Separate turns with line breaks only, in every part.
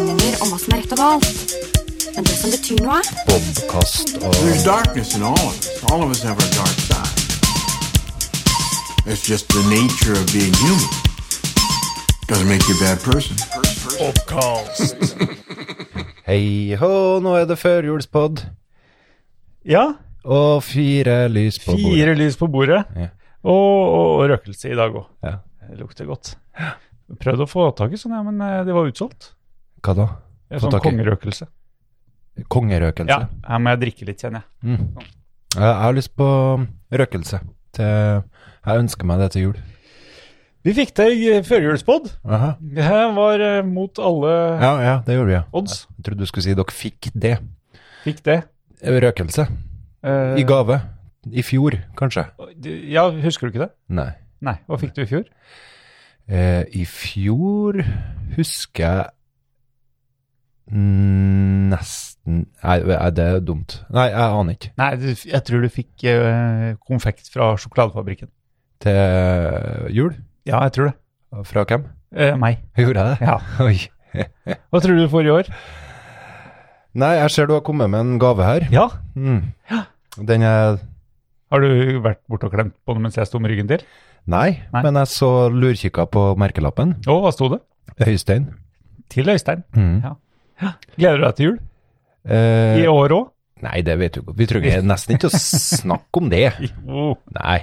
som er rett og galt, men det som betyr noe.
Bobkast og
There's darkness in all of us. All of us have our dark side. It's just the nature of being human. Doesn't make you a bad person.
Hei hå, nå er det førjulspodd
Ja,
og fire lys på bordet.
fire lys på bordet.
Ja.
Og, og, og røkelse i dag òg.
Ja.
Det lukter godt. Prøvde å få tak i sånn, ja, men eh, det var utsolgt.
Hva da?
Ja,
Få
Sånn
tak i?
kongerøkelse. Ja,
Kongerøkelse?
her må jeg drikke litt, kjenner jeg.
Mm. Jeg jeg har lyst på røkelse. Til, jeg ønsker meg det til jul.
Vi fikk deg førjulspod.
Aha.
Det her var eh, mot alle
Ja, ja, det gjorde vi, ja.
odds.
Jeg trodde du skulle si dere fikk det.
Fikk det.
Røkelse.
Eh,
I gave. I fjor, kanskje.
du- Ja, husker du ikke det?
Nei.
Nei. Hva fikk du i fjor?
Eh, I fjor husker jeg Nesten Nei, nei, det er dumt. Nei, jeg aner ikke.
Nei, du, jeg tror du fikk eh, konfekt fra sjokoladefabrikken.
Til jul?
Ja, jeg tror det.
Fra hvem?
Eh, meg.
Gjorde jeg det?
Ja.
Oi.
Hva tror du du får i år?
Nei, jeg ser du har kommet med en gave her.
Ja.
Mm. Den er
Har du vært borte og klemt på den mens jeg sto med ryggen til?
Nei,
Nei.
men jeg så lurkikka på merkelappen.
Å, hva sto det?
Øystein.
Til Øystein.
Mm.
Ja. Gleder du deg til jul? I
Eh,
år òg?
nei, det vet du ikke. Vi trenger nesten ikke å snakke om det.
Jo.
Nei.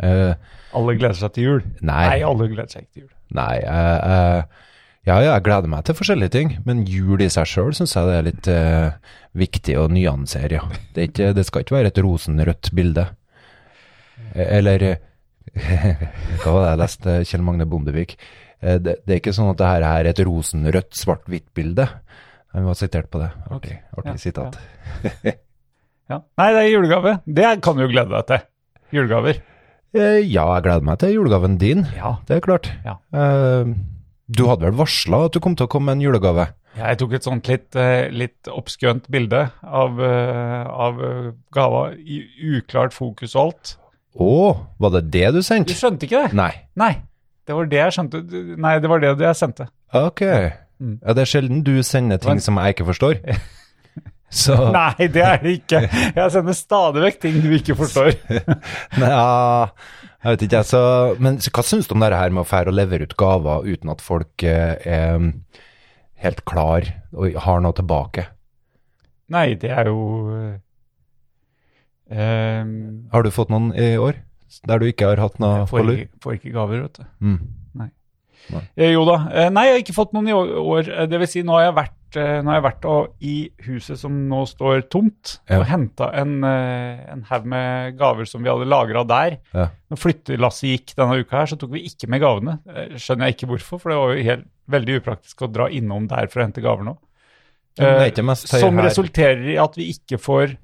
Eh,
Oh, Alle gleder seg til jul. Nei,
nei.
alle gleder seg ikke til jul.
Nei. eh, eh, ja, ja, jeg gleder meg til forskjellige ting, men jul i seg sjøl syns jeg det er litt eh, viktig å nyansere, ja. Det, er ikke, det skal ikke være et rosenrødt bilde. Eh, Eller eh, Hva var det jeg leste? Kjell Magne Bondevik. Eh, Det, det er ikke sånn at det her er et rosenrødt, svart-hvitt bilde. Han var sitert på det. Artig, artig
Ja,
sitat.
Ja. Nei, det er julegave. Det kan du jo glede deg til. Julegaver.
Eh, Ja, jeg gleder meg til julegaven din.
Ja.
Det er klart.
Ja.
Eh, Du hadde vel varsla at du kom til å komme med en julegave?
Jeg tok et sånt litt, eh, litt oppskjønt bilde av, eh, av eh, gava i uklart fokus og alt.
Å, var det det du
Du
sendte?
skjønte ikke det?
Nei.
Nei. Det var det jeg skjønte. Du- Nei, det var det jeg sendte.
Ok.
Mm.
Ja, det er sjelden du sender ting
Men-
som jeg ikke forstår. Så
Nei, det er det ikke. Jeg sender stadig vekk ting du ikke forstår.
Nja, jeg vet ikke, jeg. Så, men så hva syns du om det her med å fære og levere ut gaver uten at folk eh, er helt klar og har noe tilbake?
Nei, det er jo eh, ehm,
Har du fått noen i år der du ikke har hatt noe
Jeg
på
får
lur?
ikke, får ikke gaver, vet du.
Mm.
Eh, jo da. Eh, nei, jeg har ikke fått noen i år- år. Eh, Det vil si, nå har jeg vært, eh, nå har jeg vært og, i huset som nå står tomt,
Ja.
og henta en, eh, en haug med gaver som vi hadde lagra der.
Ja.
Når flyttelasset gikk denne uka her, så tok vi ikke med gavene. Eh, skjønner jeg ikke hvorfor, for det var jo helt, veldig upraktisk å dra innom der for å hente gaver nå.
Ja, men det er
Eh,
ikke mest høy
som
her.
resulterer i at vi ikke får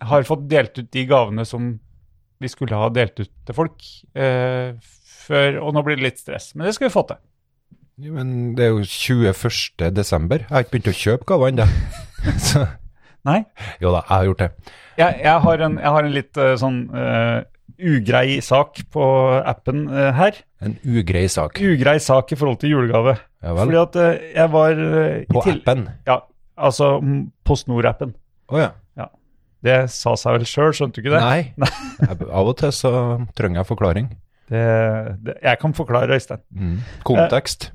har fått delt ut de gavene som vi skulle ha delt ut til folk eh, før, og nå blir det litt stress. Men det skal vi få til.
Jo, Men det er jo 21. desember. Jeg har ikke begynt å kjøpe gaver ennå. Så
Nei,
jo da, jeg har gjort det.
jeg, jeg, har, en, jeg har en litt eh, sånn eh, ugrei sak på appen eh, her.
En ugrei sak.
Ugrei sak i forhold til julegave.
Ja vel.
Fordi at eh, jeg var eh, i
På
til-
appen.
Ja, altså mm, PostNord-appen.
Å ja.
Det sa seg vel sjøl, skjønte du ikke det?
Nei. Jeg- Av og til så trenger jeg forklaring.
det, det? Jeg kan forklare, Øystein.
Mm. Kontekst.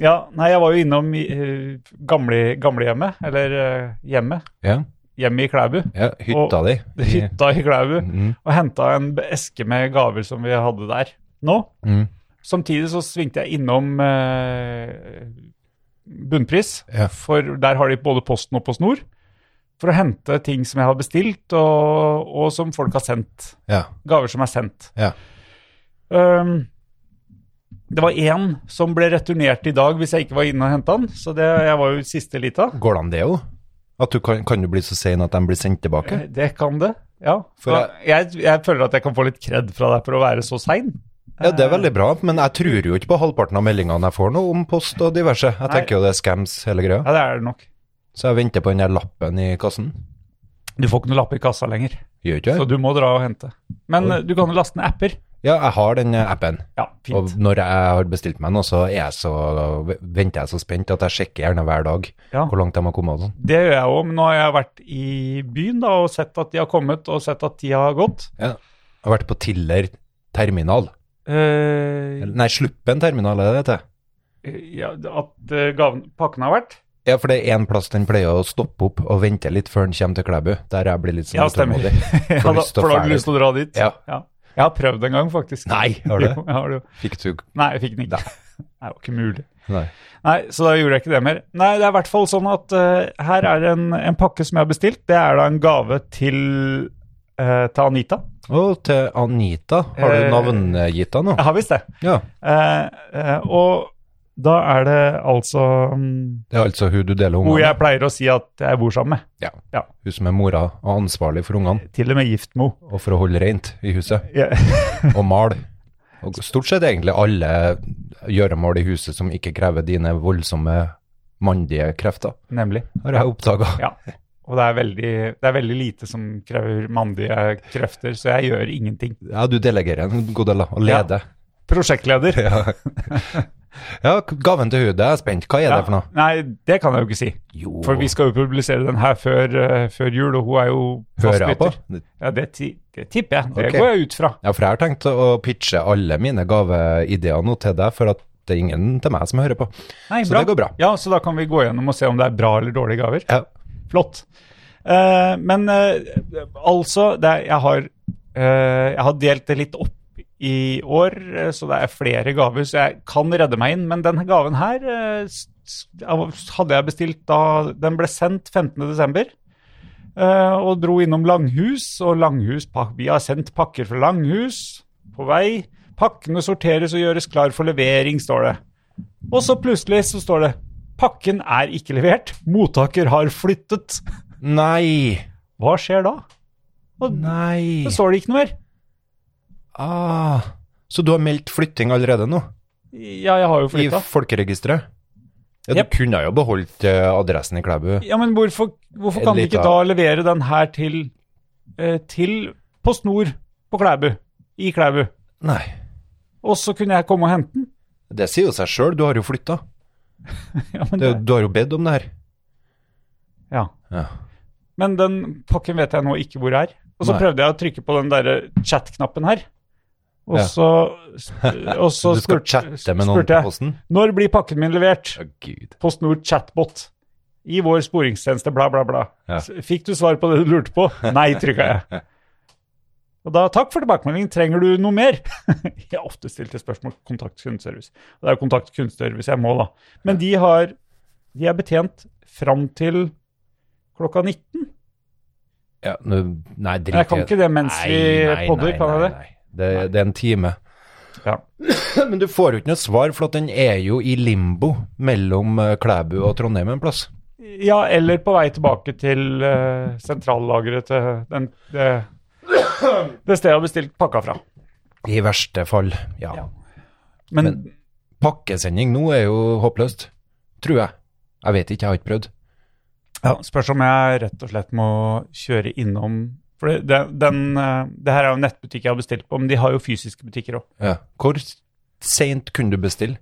Ja, nei, jeg var jo innom eh, gamle, gamlehjemmet, eller eh, hjemmet,
Ja.
hjemmet i Klæbu,
ja. Hytta di. I-
hytta i Klæbu,
Mm.
og henta en be- eske med gaver som vi hadde der nå.
Mm.
Samtidig så svingte jeg innom eh, Bunnpris,
Ja.
for der har de både Posten og PostNord, for å hente ting som jeg har bestilt, og, og som folk har sendt.
Ja.
Gaver som er sendt.
Ja.
Ehm, det var én som ble returnert i dag hvis jeg ikke var inne og henta den, så det, jeg var jo siste lita.
Går det an det òg? At du kan, kan du bli så sein at de blir sendt tilbake?
Eh, Det kan det, ja.
For
Da- jeg, jeg føler at jeg kan få litt kred fra deg for å være så sein.
Ja, det er veldig bra, men jeg tror jo ikke på halvparten av meldingene jeg får nå om post og diverse. Jeg
Nei.
tenker jo det er scams hele greia.
Ja, det er det nok.
Så jeg venter på den der lappen i kassen.
Du får ikke noe lapp i kassa lenger,
Gjør ikke
så
jeg?
du må dra og hente. Men eh, du kan jo laste ned apper.
Ja, jeg har den eh, appen.
Ja,
Og
fint.
når jeg har bestilt meg noe, så, er jeg så venter jeg så spent at jeg sjekker gjerne hver dag
Ja.
hvor langt de har kommet. og sånn.
Det gjør jeg òg, men nå har jeg vært i byen da, og sett at de har kommet, og sett at de har gått.
Jeg har vært på Tiller terminal.
Eh,
Eller- Nei, Sluppen terminal er det det heter.
ja, at eh, gaven, pakken har vært?
Ja, for det er en plass den pleier å stoppe opp og vente litt før den kommer til Klæbu. Der jeg blir litt sånn
Ja, stemmer.
utålmodig.
Ja,
Får
da,
lyst til å
for da har du
fære.
lyst til å dra dit?
Ja.
Jeg har prøvd en gang, faktisk.
Nei, har du det?
Jo, jeg har det jo.
Fikk du
Nei, jeg fikk den ikke. Nei, det var ikke mulig.
Nei.
Nei, så da gjorde jeg ikke det mer. Nei, det er i hvert fall sånn at eh, her er en, en pakke som jeg har bestilt. Det er da en gave til, eh, til Anita.
Og til Anita. Har du
Eh,
navngitt henne nå?
Jeg har visst det.
Ja.
Eh, eh, og da er det altså mm,
Det er altså hun du deler
hun
ungene
jeg
med.
pleier å si at jeg bor sammen med.
Ja.
Ja.
Hun som er mora og ansvarlig for ungene,
Til og med gift med henne.
og for å holde rent i huset.
Ja.
Og male. Og stort sett egentlig alle gjøremål i huset som ikke krever dine voldsomme mandige krefter,
Nemlig.
har jeg oppdaga.
Ja. Og det er, veldig, det er veldig lite som krever mandige krefter, så jeg gjør ingenting.
Ja, du delegerer en god del, da, og
Ja.
leder.
Prosjektleder.
Ja. ja, gaven til hun, det er jeg spent. Hva er det for noe?
Nei, det kan jeg jo ikke si.
Jo,
For vi skal jo publisere den her før, eh, før jul, og hun er jo fast
hører jeg på?
lytter. Ja, det, ti, det tipper jeg. Det
Ok.
går jeg ut fra.
Ja, for jeg har tenkt å pitche alle mine gaveideer nå til deg, for at det er ingen til meg som hører på.
Nei,
Så det går bra.
Ja, så da kan vi gå gjennom og se om det er bra eller dårlige gaver.
Ja.
Flott. Eh, men eh, altså, det er, jeg, har, eh, jeg har delt det litt opp i år, eh, så det er flere gaver, så jeg kan redde meg inn. Men denne gaven her eh, s- s- hadde jeg bestilt da den ble sendt 15.12. Uh, og dro innom Langhus, og Langhus, pak- vi har sendt pakker fra Langhus på vei. Pakkene sorteres og gjøres klar for levering, står det. Og så plutselig så står det Pakken er ikke levert. Mottaker har flyttet.
Nei,
Hva skjer da? Og
nei.
Så står det ikke noe mer.
Ah, så du har meldt flytting allerede nå?
Ja, jeg har jo
I
flytta.
folkeregisteret? Ja, du
Jep.
kunne jo beholdt eh, adressen i Klæbu.
Ja, men hvorfor, hvorfor
En
kan de
liten-
ikke da levere den her til, eh, til PostNord på Klæbu? I Klæbu.
Nei,
Og så kunne jeg komme og hente den.
det sier jo seg sjøl, du har jo flytta.
Ja, men, det,
Du har jo bedt om det her.
ja.
Ja.
men den pakken vet jeg nå ikke hvor er. Og så
Nei.
prøvde jeg å trykke på den derre chat-knappen her. Og
Ja.
så, og så
du skal
spurte-
chatte med noen
spurte
på
jeg
posten?
når blir pakken min levert.
Å, gud.
PostNord chatbot. I vår sporingstjeneste, bla, bla, bla.
Ja.
S- Fikk du svar på det du lurte på? Nei, trykka jeg. Og da, takk for tilbakemeldingen, trenger du noe mer? jeg har ofte stilt et spørsmål kontakt kundeservice. Og det er jo kontakt kundeservice jeg må, da. Men de har De er betjent fram til klokka 19.
Ja, nå, nei, drit i
Jeg kan
det.
ikke det mens
Nei,
vi
nei,
podder,
nei,
kan jeg
nei,
det?
nei. det? Det er en time.
Ja.
Men du får jo ikke noe svar, for at den er jo i limbo mellom eh, Klæbu og Trondheim en plass.
ja, eller på vei tilbake til eh, sentrallageret til den, det, det stedet jeg har bestilt pakka fra.
I verste fall, ja.
Ja. Men,
Men- Pakkesending nå er jo håpløst, tror jeg. Jeg vet ikke, jeg har ikke prøvd.
Ja, spørs om jeg rett og slett må kjøre innom For det, det, den, eh, det her er jo en nettbutikk jeg har bestilt på, men de har jo fysiske butikker òg.
Ja. Hvor seint kunne du bestille?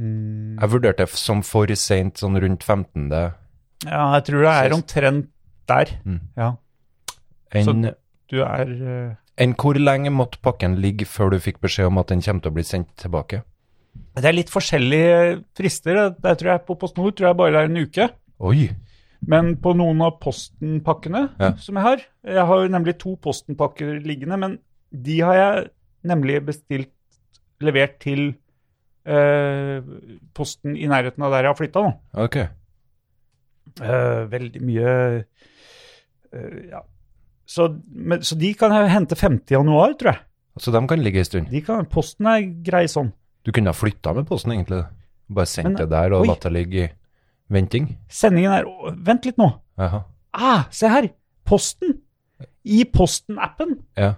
Jeg vurderte f- som for seint, sånn rundt 15.
Ja, jeg tror det er
Ses.
omtrent der.
Mm.
Ja,
Enn
du er eh,
enn hvor lenge måtte pakken ligge før du fikk beskjed om at den kommer til å bli sendt tilbake?
Det er litt forskjellige frister. det- Det tror jeg På PostNord tror jeg bare det er en uke.
Oi!
Men på noen av Posten-pakkene
Ja.
som jeg har Jeg har jo nemlig to Posten-pakker liggende, men de har jeg nemlig bestilt levert til eh, Posten i nærheten av der jeg har flytta nå.
Ok.
Eh, veldig mye eh, ja. så, men, så de kan jeg hente 50. januar, tror jeg.
Så de kan ligge en stund.
De kan, posten er grei sånn.
Du kunne ha flytta med posten, egentlig. Bare sendt
Men-
det der og
oi.
latt det ligge i venting.
Sendingen er å, Vent litt nå.
Jaha.
Ah, se her! Posten! I Posten-appen.
Ja.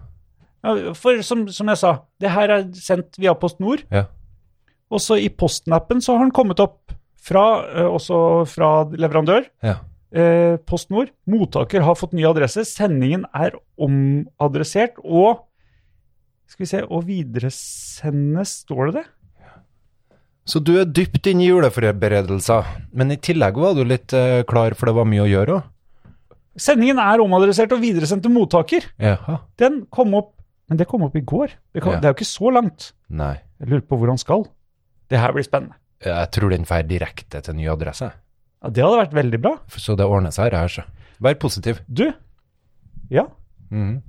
Ja, For som, som jeg sa, det her er sendt via PostNord.
Ja.
Og så i Posten-appen så har den kommet opp fra, eh, også fra leverandør.
ja.
eh, PostNord. Mottaker har fått ny adresse. Sendingen er omadressert og Skal vi se, og videresende, står det det?
Så du er dypt inne i juleforberedelser, men i tillegg var du litt eh, klar, for det var mye å gjøre òg?
Sendingen er omadressert og videresendt til mottaker.
Jaha.
Den kom opp, men det kom opp i går. Det, kom,
Ja.
det er jo ikke så langt.
Nei.
Jeg lurer på hvor han skal. Det her blir spennende.
Jeg tror den drar direkte til ny adresse,
Ja, det hadde vært veldig bra.
For- så det ordner seg her, så. Vær positiv.
Du? Ja?
Mhm.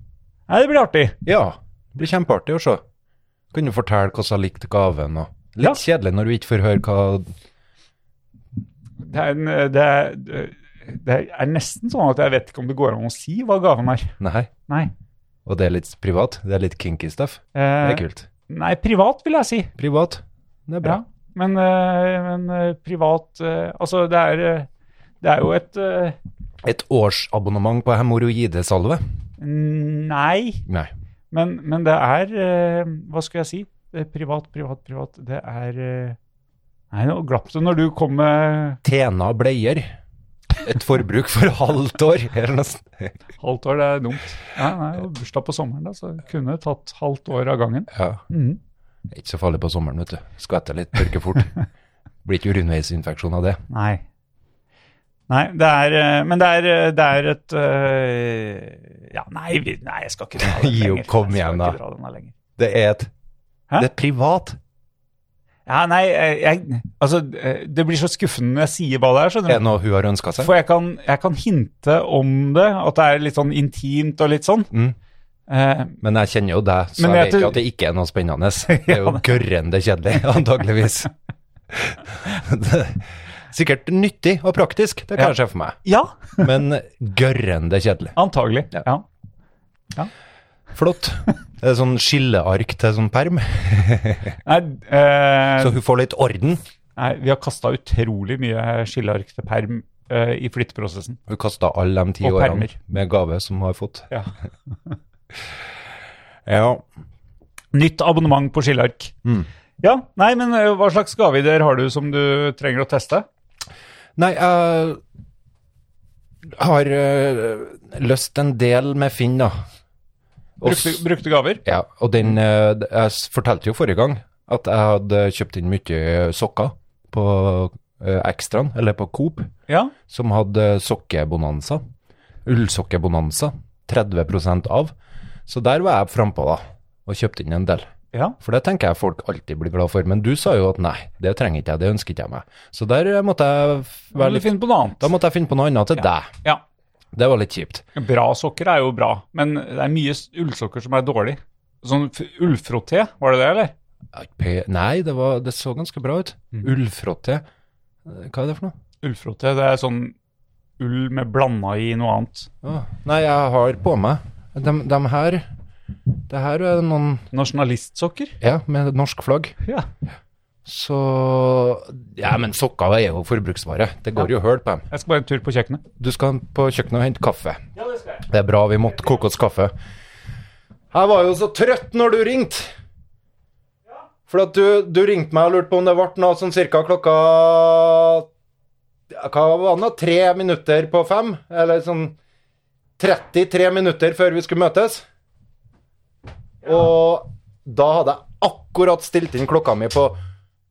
Nei, det blir artig.
Ja, det blir kjempeartig å se. Kan du fortelle hvordan jeg likte gaven? Og litt kjedelig når du ikke får høre hva
Det er, en, eh, det, er, det er nesten sånn at jeg vet ikke om det går an å si hva gaven er.
Nei.
Nei.
Og det er litt privat. Det er litt kinky stuff. Det
Eh,
er kult.
Nei, privat vil jeg si.
Privat. Det er bra.
Ja. Men, eh, men eh, privat eh, Altså, det er, eh, det er jo et eh,
Et årsabonnement på hemoroidesalve?
Nei.
Nei.
Men, men det er eh, Hva skulle jeg si? Det er privat, privat, privat. Det er eh, Nei, nå glapp det når du kom med
Tena bleier. Et forbruk for halvt år. Eller noe sånt.
halvt år. Det er dumt. Nei, nei, det var bursdag på sommeren, da, så jeg kunne tatt halvt år av gangen.
Ja.
Mhm.
Det er Ikke så farlig på sommeren, vet du. Skvetter litt, tørker fort. Blir ikke urinveisinfeksjon av det.
Nei. Nei, det er eh, Men det er, eh, det er et eh, Ja, nei, vi, nei, jeg skal ikke dra den
Jo,
lenger.
kom
Jeg skal
igjen,
ikke
da.
dra den her lenger.
Det er et
Hæ?
Det er privat.
Ja, nei, jeg, jeg Altså, eh, det blir så skuffende når jeg sier hva det er,
Er
skjønner
det
du.
noe hun har ønska seg?
For jeg kan, jeg kan hinte om det, at det er litt sånn intimt og litt sånn.
Mm.
Eh,
Men jeg kjenner jo deg, så
Men
jeg
jeg
vet
tror-
jo at det ikke er noe spennende. Det er jo
Ja.
gørrende kjedelig, antageligvis. Det- Sikkert nyttig og praktisk, det kan jeg se for meg.
ja,
Men gørrende kjedelig.
antagelig.
Ja.
Ja.
Flott. Det er sånn skilleark til sånn perm,
Nei, eh,
så hun får litt orden.
nei, vi har kasta utrolig mye skilleark til perm eh, i flytteprosessen.
Hun kasta alle de ti
Og
årene
permer.
med gave som hun har fått.
Ja.
Ja.
Nytt abonnement på skilleark.
Mm.
Ja, nei, men eh, hva slags gaveidéer har du som du trenger å teste?
Nei, jeg har øh, løst en del med Finn, da. Og s-
Brukte, brukte gaver?
Ja, og
Mm.
den eh, Jeg s- fortalte jo forrige gang at jeg hadde kjøpt inn mye sokker på eh, Ekstraen, eller på Coop,
Ja.
som hadde sokkebonanza. Ullsokkebonanza. 30 av. Så der var jeg frampå, da, og kjøpte inn en del.
ja.
For det tenker jeg folk alltid blir glad for. Men du sa jo at nei, det trenger ikke jeg, det ønsker ikke jeg meg. Så der eh, måtte jeg f- være
Veldig
litt
fint på noe annet.
Da måtte jeg finne på noe annet til deg.
Ja.
Det var litt kjipt.
Bra sokker er jo bra, men det er mye s- ullsokker som er dårlig. Sånn f- ullfrotté, var det det, eller?
Jeg- pe- Nei, det, var, det så ganske bra ut. Ullfrotté. Eh, Hva er det for noe?
Ullfrotté, det er sånn ull med blanda i noe annet.
Åh, Nei, jeg har på meg dem, dem her. Det her er noen
Nasjonalistsokker?
Ja, med norsk flagg.
Ja.
Så Ja, men sokker er jo forbruksvare. Det går jo høl på dem.
Jeg skal bare en tur på kjøkkenet.
Du skal på kjøkkenet og hente kaffe.
Ja, det skal jeg.
Det er bra vi måtte koke oss kaffe. Jeg var jo så trøtt når du ringte. For at du, du ringte meg og lurte på om det ble noe sånn cirka klokka ja, Hva var det? da? Tre minutter på fem? Eller sånn 33 minutter før vi skulle møtes. Og da hadde jeg akkurat stilt inn klokka mi på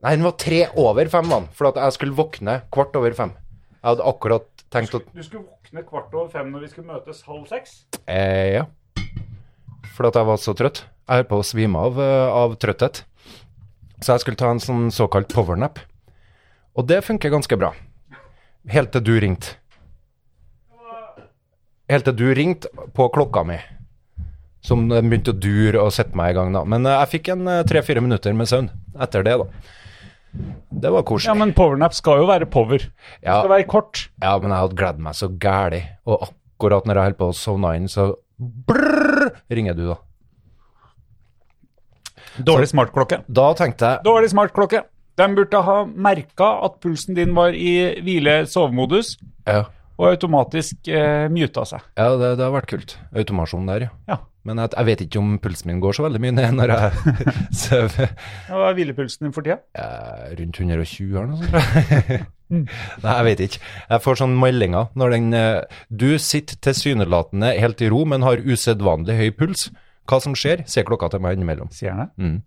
Nei, den var tre over fem, mann, for at jeg skulle våkne kvart over fem. Jeg hadde akkurat tenkt å
Du skulle våkne kvart over fem når vi skulle møtes halv seks?
Eh, ja. Fordi at jeg var så trøtt. Jeg holdt på å svime av eh, av trøtthet. Så jeg skulle ta en sånn såkalt powernap. Og det funker ganske bra. Helt til du ringte. Helt til du ringte på klokka mi. Som eh, begynte å dure og sette meg i gang, da. Men eh, jeg fikk en tre-fire minutter med søvn etter det, da. Det var
Ja,
koselig.
men powernap skal jo være power. Det
Ja.
skal være kort.
Ja, men jeg hadde gledet meg så gæli. Og akkurat når jeg holdt på å sovne inn, så brrr, ringer du, da.
Dårlig smartklokke.
Da tenkte jeg
Dårlig smartklokke. Den burde ha merka at pulsen din var i hvile-sovemodus,
Ja,
og automatisk eh, muta seg.
ja det, det har vært kult. Automasjon der, ja.
Ja.
Men jeg, jeg vet ikke om pulsen min går så veldig mye ned når jeg sover.
Hva er hvilepulsen din for tida?
Eh, rundt 120 eller noe sånt, tror jeg. Mm. Nei, jeg vet ikke. Jeg får sånne meldinger når den eh, Du sitter tilsynelatende helt i ro, men har usedvanlig høy puls. Hva som skjer, ser klokka til meg innimellom.
sier han det?
Mm.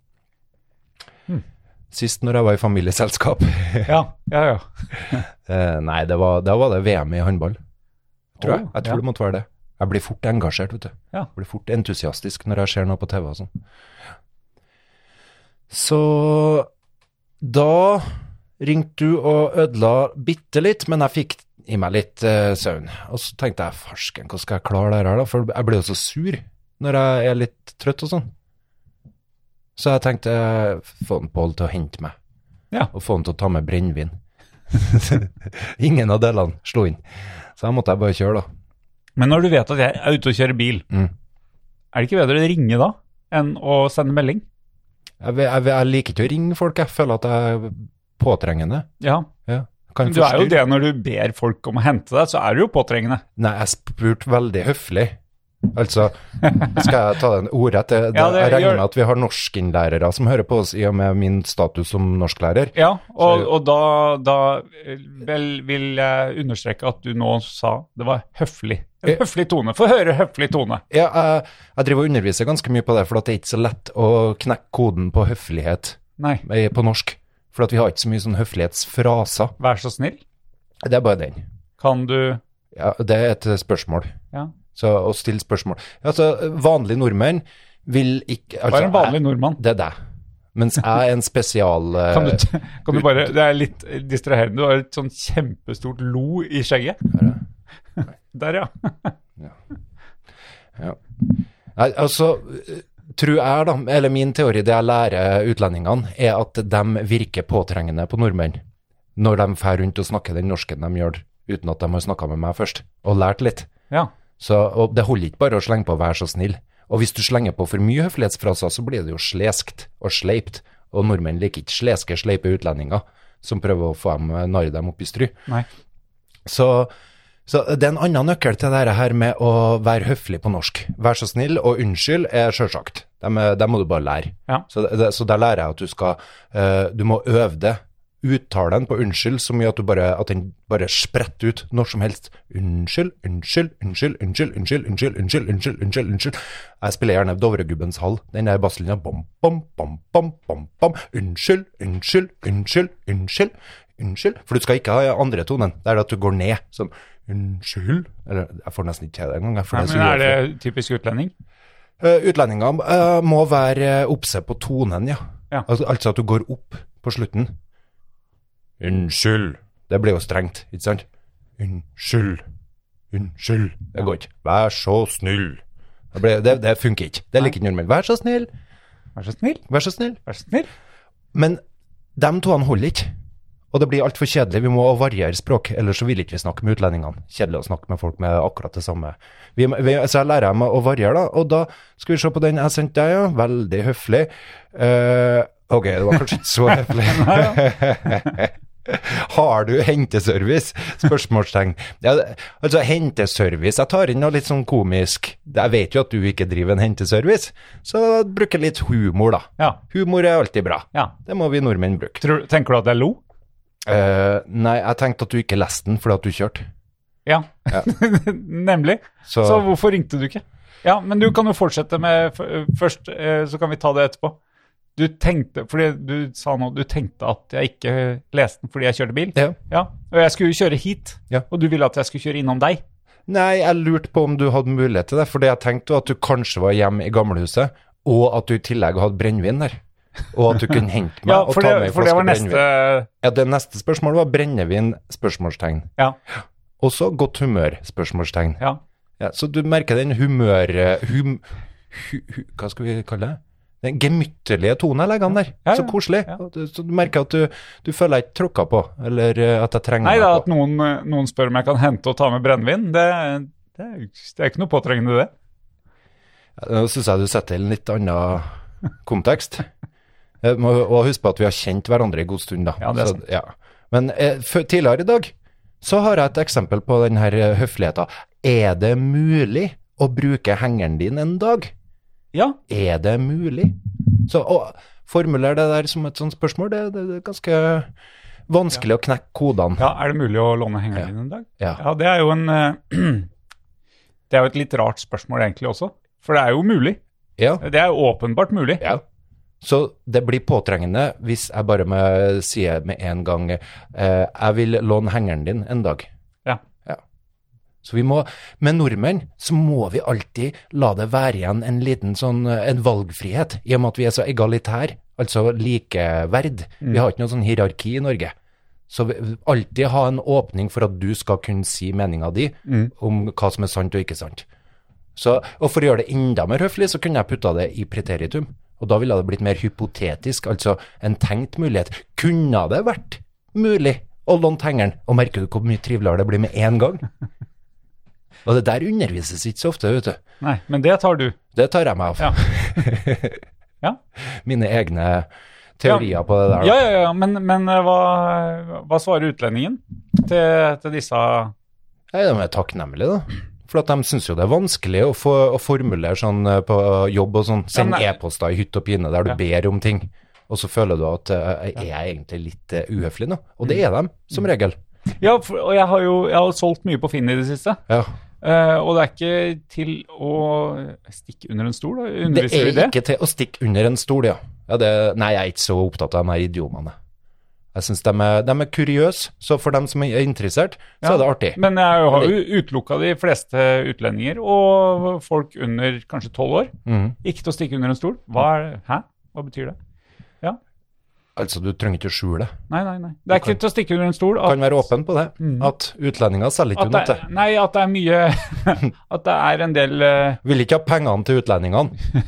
Sist når jeg var i familieselskap
Ja, ja, ja.
eh, Nei, det var, da var det VM i handball. Tror jeg.
Å,
Jeg tror
ja.
det måtte være det. Jeg blir fort engasjert, vet du.
Ja.
Jeg blir fort entusiastisk når jeg ser noe på TV og sånn. Så da ringte du og ødela bitte litt, men jeg fikk i meg litt eh, søvn. Og så tenkte jeg, farsken, hvordan skal jeg klare det her da? For jeg blir jo så sur når jeg er litt trøtt og sånn. Så jeg tenkte, eh, få en Pål til å hente meg.
Ja.
Og få han til å ta med brennvin. Ingen av delene slo inn. Så da måtte jeg bare kjøre da.
Men når du vet at jeg er ute og kjører bil,
Mm.
er det ikke bedre å ringe da enn å sende melding?
Jeg, vil- jeg, vil- jeg liker ikke å ringe folk, jeg føler at jeg er påtrengende.
Ja.
Ja. Kan
Du er jo
forstyrre.
det når du ber folk om å hente deg, så er du jo påtrengende.
Nei, jeg spurte veldig høflig. Altså, skal jeg ta den ordrett? Det, det,
Ja, det
jeg regner
gjør-
med at vi har norskinnlærere som hører på oss, i og med min status som norsklærer.
Ja, og,
Så-
og da, da eh, vel, vil jeg understreke at du nå sa det var høflig. En
Eh.
høflig tone. Få høre høflig tone.
Ja, jeg, jeg driver og underviser ganske mye på det, for at det er ikke så lett å knekke koden på høflighet
Nei,
eh, på norsk. For at vi har ikke så mye sånn høflighetsfraser.
vær så snill.
Det er bare den.
Kan du
Ja, det er et spørsmål.
Ja.
Så å stille spørsmål. Altså, vanlige nordmenn vil ikke
Hva
altså,
er en vanlig nordmann?
jeg- Det er deg. Mens jeg er en spesial... eh,
Kan du, t- kan du bare Det er litt distraherende. Du har et sånn kjempestort lo i skjegget. Der, ja.
Nei, altså, eh, tror jeg da, eller min teori, det jeg lærer utlendingene, er at de virker påtrengende på nordmenn når de fer rundt og snakker den norsken de gjør, uten at de har snakket med meg først, og lært litt.
ja.
Så, og det holder ikke bare å slenge på 'vær så snill'. Og hvis du slenger på for mye høflighetsfraser, så blir det jo sleskt og sleipt. Og nordmenn liker ikke sleske, sleipe utlendinger som prøver å få dem, narre dem opp i stry.
Nei.
Så, så det er en annen nøkkel til dette her med å være høflig på norsk. Vær så snill, og unnskyld er sjølsagt. Det må du bare lære.
Ja.
Så, det, så der lærer jeg at du skal eh, Du må øve det. Uttalen på unnskyld så mye at, du bare, at den bare spretter ut når som helst. Unnskyld, unnskyld, unnskyld, unnskyld, unnskyld, unnskyld, unnskyld, unnskyld, unnskyld, unnskyld. Jeg spiller gjerne Dovregubbens hall. Den der basslinja. Bom, bom, bom, bom, bom, bom. Unnskyld, unnskyld, unnskyld, unnskyld. Unnskyld. For du skal ikke ha andre tonen. Det er at du går ned sånn Unnskyld. Eller jeg får nesten ikke til det engang. jeg, for
Nei,
det så
men er det
uhøflig.
typisk utlending?
Eh, Utlendinger eh, må være eh, obse på tonen, ja.
Ja.
Altså, altså at du går opp på slutten. Unnskyld. Det blir jo strengt, ikke sant? Unnskyld. Unnskyld. Det går ikke. Vær så snill. Det, blir, det, det funker ikke. Det liker ikke nordmenn. Vær så snill.
Vær så snill.
Vær så snill.
Vær så snill.
Men de toene holder ikke. Og det blir altfor kjedelig. Vi må variere språk, ellers så vil ikke vi snakke med utlendingene. Kjedelig å snakke med folk med akkurat det samme. Vi, må- vi, så jeg lærer meg å variere, da. Og da skal vi se på den jeg sendte deg, ja. Veldig høflig. Eh, ok, det var kanskje ikke så høflig. Har du henteservice? Spørsmålstegn. Ja, det- altså, henteservice Jeg tar inn noe litt sånn komisk. Jeg vet jo at du ikke driver en henteservice, så bruker litt humor, da.
Ja.
Humor er alltid bra.
ja.
Det må vi nordmenn bruke.
Tror, tenker du at jeg lo?
Eh, nei, jeg tenkte at du ikke leste den fordi at du kjørte.
Ja. Nemlig.
Så,
Så hvorfor ringte du ikke? Ja, men du kan jo fortsette med f først, eh, så kan vi ta det etterpå. Du tenkte, fordi du sa nå, du tenkte at jeg ikke leste den fordi jeg kjørte bil.
Ja.
Og jeg skulle jo kjøre hit,
Ja.
og du ville at jeg skulle kjøre innom deg.
Nei, jeg lurte på om du hadde mulighet til det, fordi jeg tenkte at du kanskje var hjemme i gamlehuset, og at du i tillegg hadde brennevin der. Og at du kunne hente meg
Ja,
og
for
ta med
det,
en
for det
flaske
var
brennevin.
neste
Ja, det neste spørsmålet var brennevin, spørsmålstegn.
Ja.
Også godt humør, spørsmålstegn.
ja.
Ja, så du merker den humør... eh, Hum, hu, hu, hva skal vi kalle det? Den gemytterlige tonen jeg legger an der.
Ja, ja,
Så koselig.
ja.
Og du- Så du merker at du, du føler jeg ikke tråkka på, eller eh, at jeg trenger
Nei
deg
da,
på.
at noen, eh, noen spør om jeg kan hente og ta med brennevin, det, det, er jo ikke- det er ikke noe påtrengende, det.
Nå syns jeg du setter det i en litt annen kontekst. Jeg må og huske på at vi har kjent hverandre en god stund, da.
Ja, det er
Så-
sant.
ja. Men eh, før- tidligere i dag så har jeg et eksempel på denne høfligheta. Er det mulig å bruke hengeren din en dag?
Ja,
Er det mulig? Så å formulere det der som et sånt spørsmål, det, det, det er ganske vanskelig å knekke kodene.
Ja, er det mulig å låne
Ja.
hengeren din en dag?
Ja.
det er jo en eh, Det er jo et litt rart spørsmål egentlig også, for det er jo mulig.
Ja.
Det er åpenbart mulig.
Ja. Så det blir påtrengende hvis jeg bare må si med en gang eh, Jeg vil låne hengeren din en dag.
Ja.
Så vi må, Med nordmenn så må vi alltid la det være igjen en liten sånn eh, en valgfrihet, i og med at vi er så egalitær, altså likeverd. Vi har ikke noe sånn hierarki i Norge. Så vi, alltid ha en åpning for at du skal kunne si meninga di om hva som er sant og ikke sant. Så, og for å gjøre det enda mer høflig, så kunne jeg putta det i preteritum. Og da ville det blitt mer hypotetisk, altså en tenkt mulighet. Kunne det vært mulig å låne hengeren? Og merker du hvor mye triveligere det blir med en gang? Og det der undervises ikke så ofte, vet du.
Nei, men det tar du.
Det tar jeg meg av.
Ja. Ja,
Mine egne teorier
Ja.
på det der.
ja,
da.
ja. ja. Men, men eh, hva, hva svarer utlendingen til, til disse
Nei, de er takknemlige, da. For at de syns jo det er vanskelig å, få, å formulere sånn eh, på jobb og sånn. Send
men-
e-poster i hytt og pine der du ber om ting. Og så føler du at eh, er jeg egentlig litt eh, uhøflig nå? Og
Mm.
det er de, som regel.
Ja, for, og jeg har jo jeg har solgt mye på Finn i det siste.
Ja.
eh, og det er ikke til å stikke under en stol, da.
Det
Underviser
er
du i det?
ikke til å stikke under en stol, ja. ja det, nei, jeg er ikke så opptatt av de her idiomene. Jeg syns de, er- de er kuriøse, så for dem som er interessert, så er det artig.
Men jeg har jo utelukka de fleste utlendinger og folk under kanskje tolv år.
Mhm.
Ikke til å stikke under en stol. Hva er, hæ? Hva betyr det?
Altså, du trenger ikke å skjule det.
Nei, nei, nei. Det er ikke til å stikke under en stol at, Mm.
Kan være åpen på det. At utlendinger selger ikke
at,
unna
det,
til.
er- nei, at det er mye At det er en del eh,
Vil ikke ha pengene til utlendingene.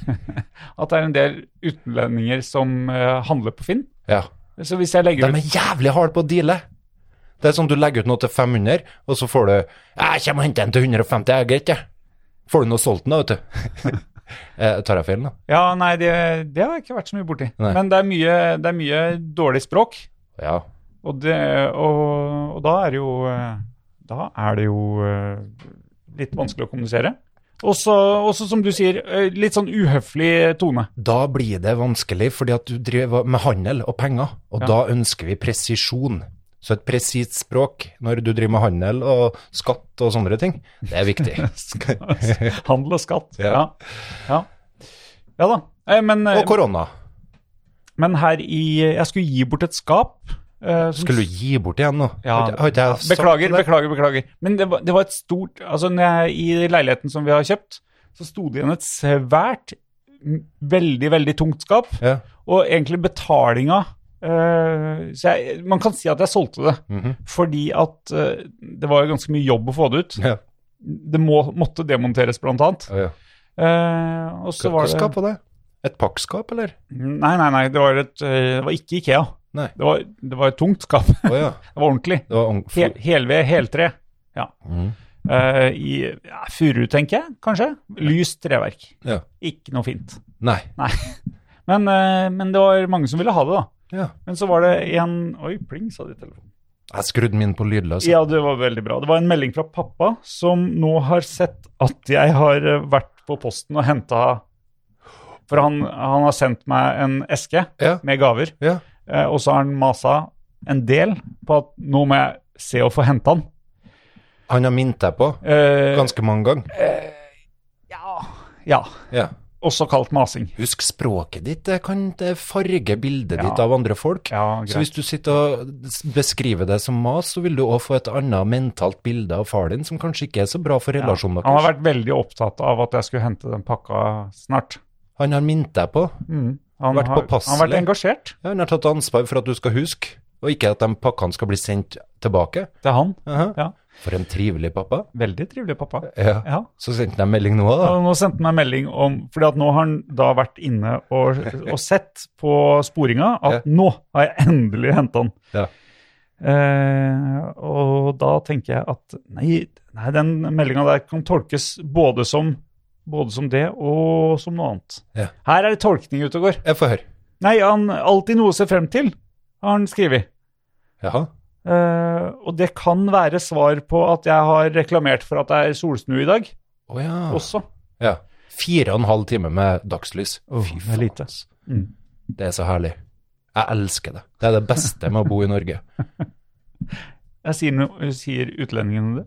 At det er en del utlendinger som eh, handler på Finn.
Ja.
Så hvis
De
jeg legger ut
er jævlig harde på å deale. Det er sånn du legger ut noe til 500, og så får du Jeg kommer og henter den til 150, jeg er greit, jeg. Får du noe solgt den, da, vet du. eh, tar jeg feil nå?
Ja, nei, det, det har jeg ikke vært så mye borti.
Nei.
Men det er mye, det er mye dårlig språk,
Ja.
og, det, og, og da er det jo eh, Da er det jo eh, litt vanskelig å kommunisere. Også, også som du sier, eh, litt sånn uhøflig tone.
Da blir det vanskelig, fordi at du driver med handel og penger, og da ønsker vi presisjon. Så et presist språk når du driver med handel og skatt og sånne ting, det er viktig.
Handel og skatt. Ja.
Ja.
Ja, ja da. Eh, Men, eh,
og korona.
men her i Jeg skulle gi bort et skap. eh, som
Skulle du gi bort igjen nå?
Ja.
Har ikke- har ikke jeg sagt
Beklager,
det?
beklager, beklager. Men det var, det var et stort Altså, når jeg, i leiligheten som vi har kjøpt, så sto det igjen et svært, m- veldig, veldig tungt skap.
Ja.
Og egentlig betalinga eh, Så jeg, man kan si at jeg solgte det.
mhm.
Fordi at eh, det var jo ganske mye jobb å få det ut.
Ja.
Det må, måtte demonteres, blant annet.
Ja, ja.
Eh, og så
Hva
var
hva skap
det
var det? Et pakkskap, eller?
Nei, nei, nei. Det var, et, eh, det var ikke Ikea.
Nei.
Det var, det var et tungt skap. det
Å ja.
var ordentlig.
Det var ung-
Hel, helved, heltre. Ja.
Mhm.
Eh, I ja, furu, tenker jeg, kanskje. Lyst treverk.
Ja.
Ikke noe fint.
Nei.
Nei. Men, eh, men det var mange som ville ha det, da.
Ja.
Men så var det en Oi, pling, sa det i telefonen.
Jeg skrudde min på lydløs.
Ja, det var veldig bra. Det var en melding fra pappa som nå har sett at jeg har eh, vært på posten og henta For han, han har sendt meg en eske
Ja.
med gaver,
Ja.
eh, og så har han masa en del på at nå må jeg se å få henta han.
Han har minnet deg på
Eh,
ganske mange ganger.
ja. ja.
Ja.
Også kalt masing.
Husk, språket ditt det kan det farge bildet
Ja.
ditt av andre folk.
Ja,
så hvis
greit.
du sitter og s- beskriver det som mas, så vil du òg få et annet mentalt bilde av far din, som kanskje ikke er så bra for relasjonen
Han har
deres.
vært veldig opptatt av at jeg skulle hente den pakka snart. Mm.
Han har minnet deg på.
Han,
Vært
har, han har
påpasselig.
vært engasjert.
Ja, han har tatt ansvar for at du skal huske, og ikke at de pakkene skal bli sendt tilbake.
Det er han.
Aha.
Ja.
For en trivelig pappa.
Veldig trivelig pappa.
Ja.
Ja.
Så sendte de melding nå, da.
Og nå sendte han meg melding om fordi at nå har han da vært inne og, og sett på sporinga at nå har jeg endelig henta han.
Ja.
Eh, og da tenker jeg at nei, nei den meldinga der kan tolkes både som, både som det og som noe annet.
Ja.
Her er det tolkning ute og går.
Jeg får høre.
Nei, han alltid noe å se frem til, har han skrevet.
Jaha.
Eh, og det kan være svar på at jeg har reklamert for at det er solsnu i dag
Å ja.
også.
Ja. Fire og en halv time med dagslys. Fy
det er lite. Mm.
ass. Det er så herlig. Jeg elsker det. Det er det beste med å bo i Norge.
Jeg sier, no sier utlendingene det.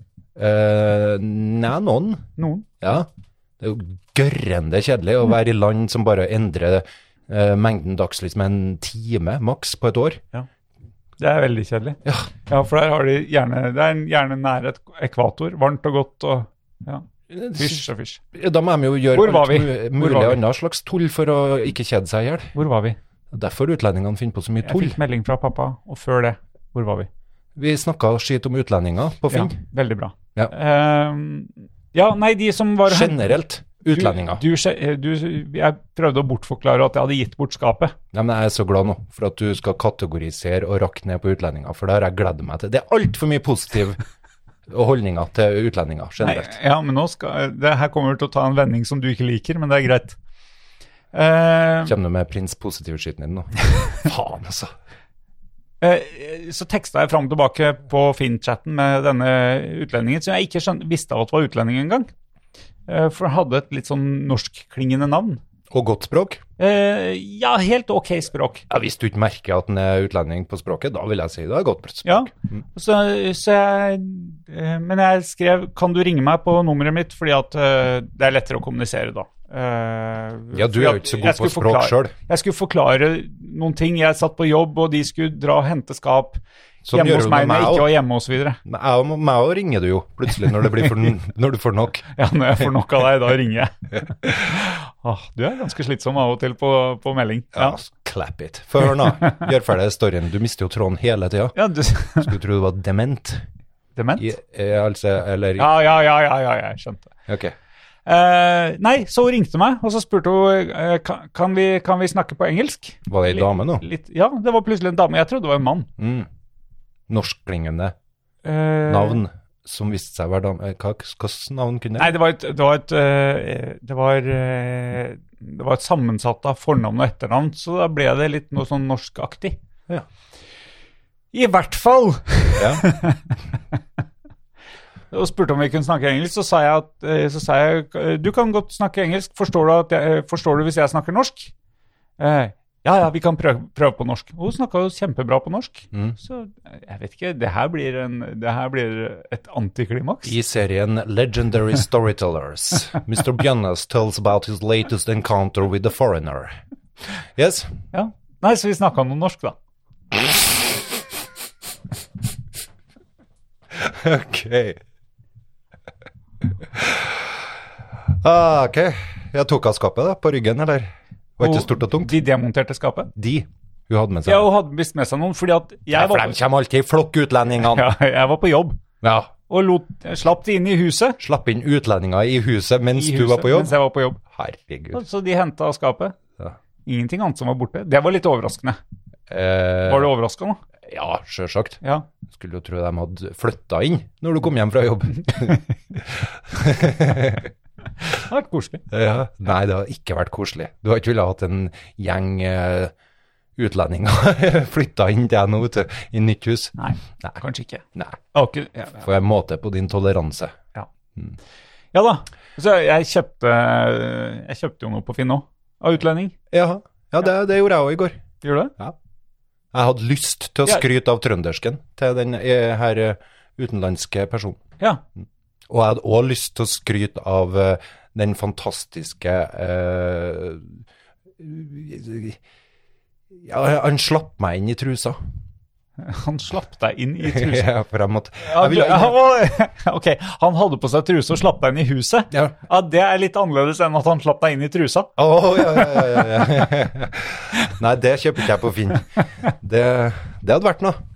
Eh, nei, noen.
Noen.
Ja. Det er jo gørrende kjedelig
Mm.
å være i land som bare endrer eh, mengden dagslys med en time maks på et år.
Det er veldig kjedelig.
Ja.
for der har de gjerne, det er en- gjerne nær et ekvator. Varmt og godt og ja, fysj og fysj.
Da må de jo gjøre
Hvor var vi?
mu-
Hvor
mulig
var vi?
annet slags tull for å ikke kjede seg i hjel.
Hvor var vi?
Derfor utlendingene finner på så mye
Jeg
tull.
fikk melding fra pappa, og før det, hvor var vi?
Vi snakka skit om utlendinger på Finn.
Ja, veldig bra.
Ja.
Ehm, ja, nei, de som var
Generelt utlendinger.
Du, du, du, jeg prøvde å bortforklare at jeg hadde gitt bort skapet.
Nei, men jeg er så glad nå for at du skal kategorisere og rakke ned på utlendinger, for det har jeg gledet meg til. Det er altfor mye positive holdninger til utlendinger
Nei,
generelt.
ja, men nå skal, det her kommer til å ta en vending som du ikke liker, men det er greit. Ehm,
Kommer du med prins positiv-skiten din nå? Faen, altså.
Eh, Så teksta jeg fram og tilbake på Finn-chatten med denne utlendingen, som jeg ikke skjønte, visste at var utlending engang. Eh, For han hadde et litt sånn norskklingende navn.
Og godt språk?
Eh, Ja, helt ok språk.
Ja, Hvis du ikke merker at en er utlending på språket, da vil jeg si det er godt språk.
Ja. Så, så jeg, eh, men jeg skrev 'Kan du ringe meg på nummeret mitt?' fordi at eh, det er lettere å kommunisere da. Eh,
Ja, du
fordi
er jo
at
ikke så god
jeg
på
skulle
språk
forklare-
selv.
Jeg skulle forklare noen ting. Jeg satt på jobb, og de skulle dra og hente skap
Sånn
hjemme
gjør
hos
du
meg
med meg
når jeg ikke
òg.
var hjemme, osv.
Meg og- meg òg ringer du jo plutselig når, det blir for, når du får nok.
Ja, når jeg får nok av deg, da ringer jeg. Åh, du er ganske slitsom av og til på, på melding. Ja,
Ja, clap it. Få høre nå. Gjør ferdig storyen. Du mister jo tråden hele tida.
ja du
Skulle tro du var dement.
Dement?
I,
Ja,
eh, altså, eller
ja, ja, ja, ja, ja jeg skjønte.
Ok.
Eh, nei, så hun ringte meg, og så spurte hun eh, kan, kan, vi, kan vi snakke på engelsk.
Var det ei dame nå?
Litt, ja, det var plutselig en dame. Jeg trodde det var en mann.
Mm. Norskklingende
Eh,
navn som viste seg å være dame. Eh, Hva slags navn kunne
Nei,
det?
det var et, det var et, eh, det var, eh, det var et sammensatt av fornavn og etternavn, så da ble det litt noe sånn norskaktig.
Ja.
I hvert fall!
Ja.
og spurte om vi kunne snakke engelsk, så sa jeg at eh, så sa jeg, eh, du kan godt snakke engelsk, forstår du, at jeg, eh, forstår du hvis jeg snakker norsk? Eh, ja, ja, vi kan prøve, prøve på norsk. Og hun snakka jo kjempebra på norsk.
Mm.
Så eh, jeg vet ikke, det her blir, en, det her blir et antiklimaks.
I serien Legendary Storytellers, Mr. Bjønnes tells about his latest encounter with a foreigner. Yes?
Ja. Nei, så vi snakka noe norsk, da.
Ok. Ah, ok. Jeg tok av skapet da, på ryggen, eller? Var ikke
Hun-
stort og tungt?
De demonterte skapet.
De hun hadde med seg.
Ja, hun hadde visst med seg noen, fordi at
Nei,
jeg
for
var,
de kommer alltid i flokk, utlendingene.
ja, jeg var på jobb
Ja.
og lot, slapp de inn i huset.
Slapp inn utlendinger i huset mens
I
du var
huset,
på jobb.
Mens jeg var på jobb.
Herregud.
Så de henta skapet.
Ja.
Ingenting annet som var borte. Det var litt overraskende.
Eh,
Var du overraska nå?
Ja, sjølsagt.
Ja.
Skulle jo tro de hadde flytta inn når du kom hjem fra jobb.
Det har vært koselig.
Ja. Nei, det har ikke vært koselig. Du har ikke villet hatt en gjeng eh, utlendinger flytta inn til deg nå, vet du. I nytt hus.
Nei,
Nei.
kanskje ikke.
Nei.
Jeg har ikke ja, ja.
Får jeg måte på din toleranse.
ja da. Så jeg kjøpte, jeg kjøpte jo noe på Finn òg, av utlending.
Ja, ja det, det gjorde jeg òg i går.
Gjorde du det?
Jeg hadde lyst til å
Ja.
skryte av trøndersken til den eh, her eh, utenlandske personen.
Ja.
Og jeg hadde òg lyst til å skryte av eh, den fantastiske eh, ja, Han slapp meg inn i trusa.
Han slapp deg inn i trusa.
Ja, for jeg måtte
Ja,
jeg ville-
du- å, ok, han hadde på seg truse og slapp deg inn i huset.
Ja.
Ja, Det er litt annerledes enn at han slapp deg inn i trusa.
Å, ja, ja, ja, ja, ja. Nei, det kjøper ikke jeg på Finn. Det, det hadde vært noe.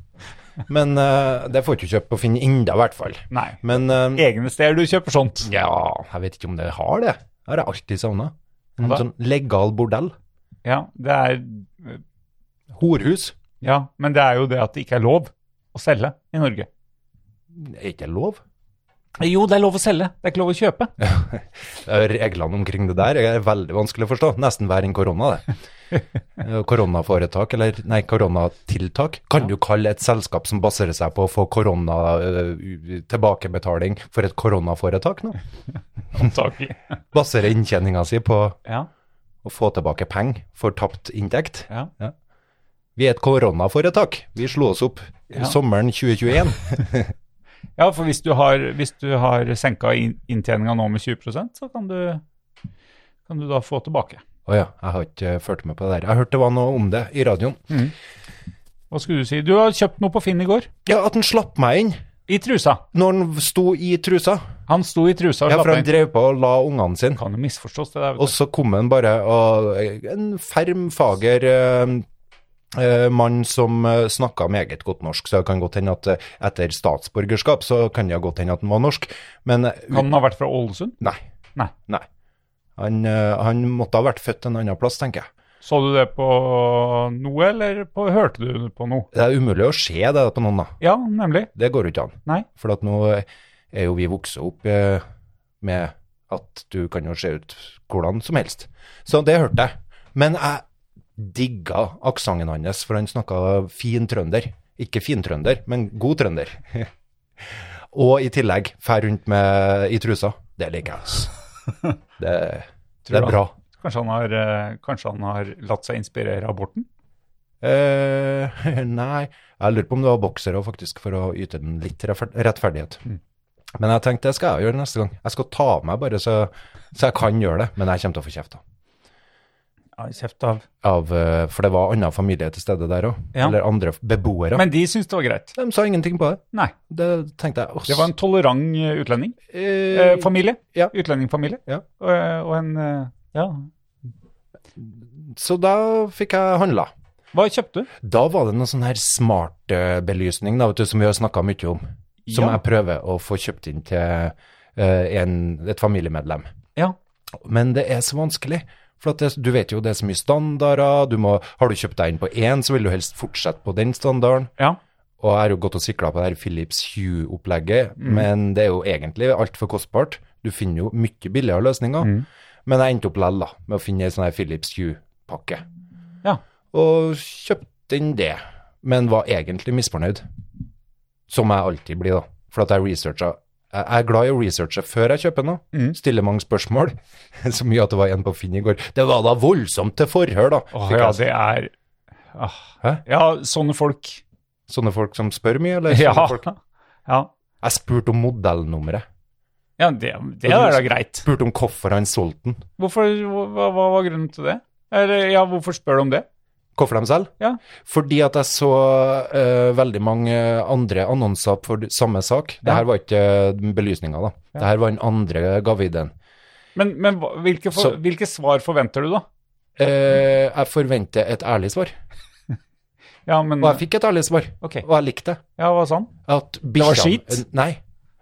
Men eh, det får du ikke kjøpt på Finn enda, i hvert fall.
Nei.
Men eh,
Egne steder du kjøper sånt.
ja, jeg vet ikke om det har det. Det har jeg alltid savna. En
Hva da?
sånn legal bordell.
Ja, det er
Horhus.
Ja, men det er jo det at det ikke er lov å selge i Norge.
Er ikke det lov?
Jo, det er lov å selge, det er ikke lov å kjøpe.
Reglene omkring det der er veldig vanskelig å forstå. Nesten verre enn korona, det. Eh, Koronaforetak, eller nei, koronatiltak, kan du kalle et selskap som baserer seg på å få korona eh, u- tilbakebetaling for et koronaforetak nå?
Antakelig.
Baserer inntjeninga si på
Ja,
å få tilbake penger for tapt inntekt?
ja.
Vi er et koronaforetak. Vi slo oss opp
Ja.
sommeren 2021.
ja for hvis du har, hvis du har senka inntjeninga nå med 20 så kan du kan du da få tilbake.
Å ja, jeg har ikke eh, fulgt med på det der. Jeg hørte det var noe om det i radioen.
Hva skulle du si? Du har kjøpt noe på Finn i går.
Ja, at han slapp meg inn
I trusa.
når han sto i trusa.
Han sto i trusa og
Ja, for
slapp
han
inn.
drev på og la ungene sine.
Kan jo misforstås, det der.
Og
vet du.
så kom han bare og En ferm, fager eh, eh, mann som eh, snakka meget godt norsk, så det kan godt hende at eh, etter statsborgerskap så kan det godt hende at han var norsk, men eh,
Kan den ha vært fra Ålesund?
Nei.
Nei.
Han, eh, han måtte ha vært født en annen plass, tenker jeg.
Så du det på noe, eller på, hørte du på noe?
Det er umulig å se det på noen, da.
Ja, nemlig.
Det går jo ikke an.
Nei.
For at nå er jo vi vokst opp eh, med at du kan jo se ut hvordan som helst. Så det hørte jeg. Men jeg digga aksenten hans, for han snakka fin trønder. Ikke fin trønder, men god trønder. Og i tillegg fær rundt med i trusa. Det liker jeg, altså. Det, det
Tror
er
du
bra.
Kanskje han har, eh, kanskje han har latt seg inspirere av Borten?
Eh, nei, jeg lurer på om det var boksere også, faktisk, for å yte den litt refer- rettferdighet.
Mm.
Men jeg tenkte det skal jeg gjøre neste gang. Jeg skal ta av meg bare så, så jeg kan gjøre det. Men jeg kommer til å få kjeft da.
Ja, kjeft av.
Av, eh, for det var annen familie til stede der òg.
Ja.
Eller andre f- beboere.
Men de syntes det var greit.
de sa ingenting på det.
Nei.
Det tenkte jeg. Oss,
Det var en tolerant eh, utlending. Eh,
eh,
familie.
ja.
Utlendingfamilie.
Ja.
Og, og en eh, Ja.
eh, Så da fikk jeg handla.
Hva kjøpte du?
Da var det noe sånn her smartbelysning da, vet du, som vi har snakka mye om. Som
Ja.
jeg prøver å få kjøpt inn til eh, en, et familiemedlem.
Ja.
Men det er så vanskelig. For at det, du vet jo det er så mye standarder. Du må, har du kjøpt deg inn på én, så vil du helst fortsette på den standarden.
ja.
Og jeg har jo gått og sikla på det her Philips Hue-opplegget,
Mm.
men det er jo egentlig altfor kostbart. Du finner jo mye billigere løsninger.
Mm.
Men jeg endte opp lell da, med å finne ei sånn her Philips Hue-pakke.
Ja.
Og kjøpte inn det, men var egentlig misfornøyd. Som jeg alltid blir, da. For at jeg researcha Jeg er glad i å researche før jeg kjøper noe.
Mm.
Stiller mange spørsmål. Så mye at det var en på Finn i går. Det var da voldsomt til forhør, da.
Åh,
fikk
ja,
jeg-
det er ah.
Hæ?
Ja, sånne folk.
Sånne folk som spør mye, eller?
Ja.
Sånne folk.
Ja,
Jeg spurte om modellnummeret.
ja det, det er da greit.
spurte om hvorfor han solgte den.
Hvorfor, hva, hva var grunnen til det? Eller, ja, hvorfor spør du om det?
Hvorfor de selv?
Ja.
Fordi at jeg så eh, veldig mange andre annonser for d- samme sak. Det
Ja.
her var ikke uh, belysninga, da. Det her var den andre gavideen.
Men, men hva- hvilke, for,
Så-
hvilke svar forventer du, da?
Eh, jeg forventer et ærlig svar,
Ja, men
og jeg fikk et ærlig svar,
Ok.
og jeg likte det.
Ja, hva sa han?
At
var
bikkja-
skit?
Nei.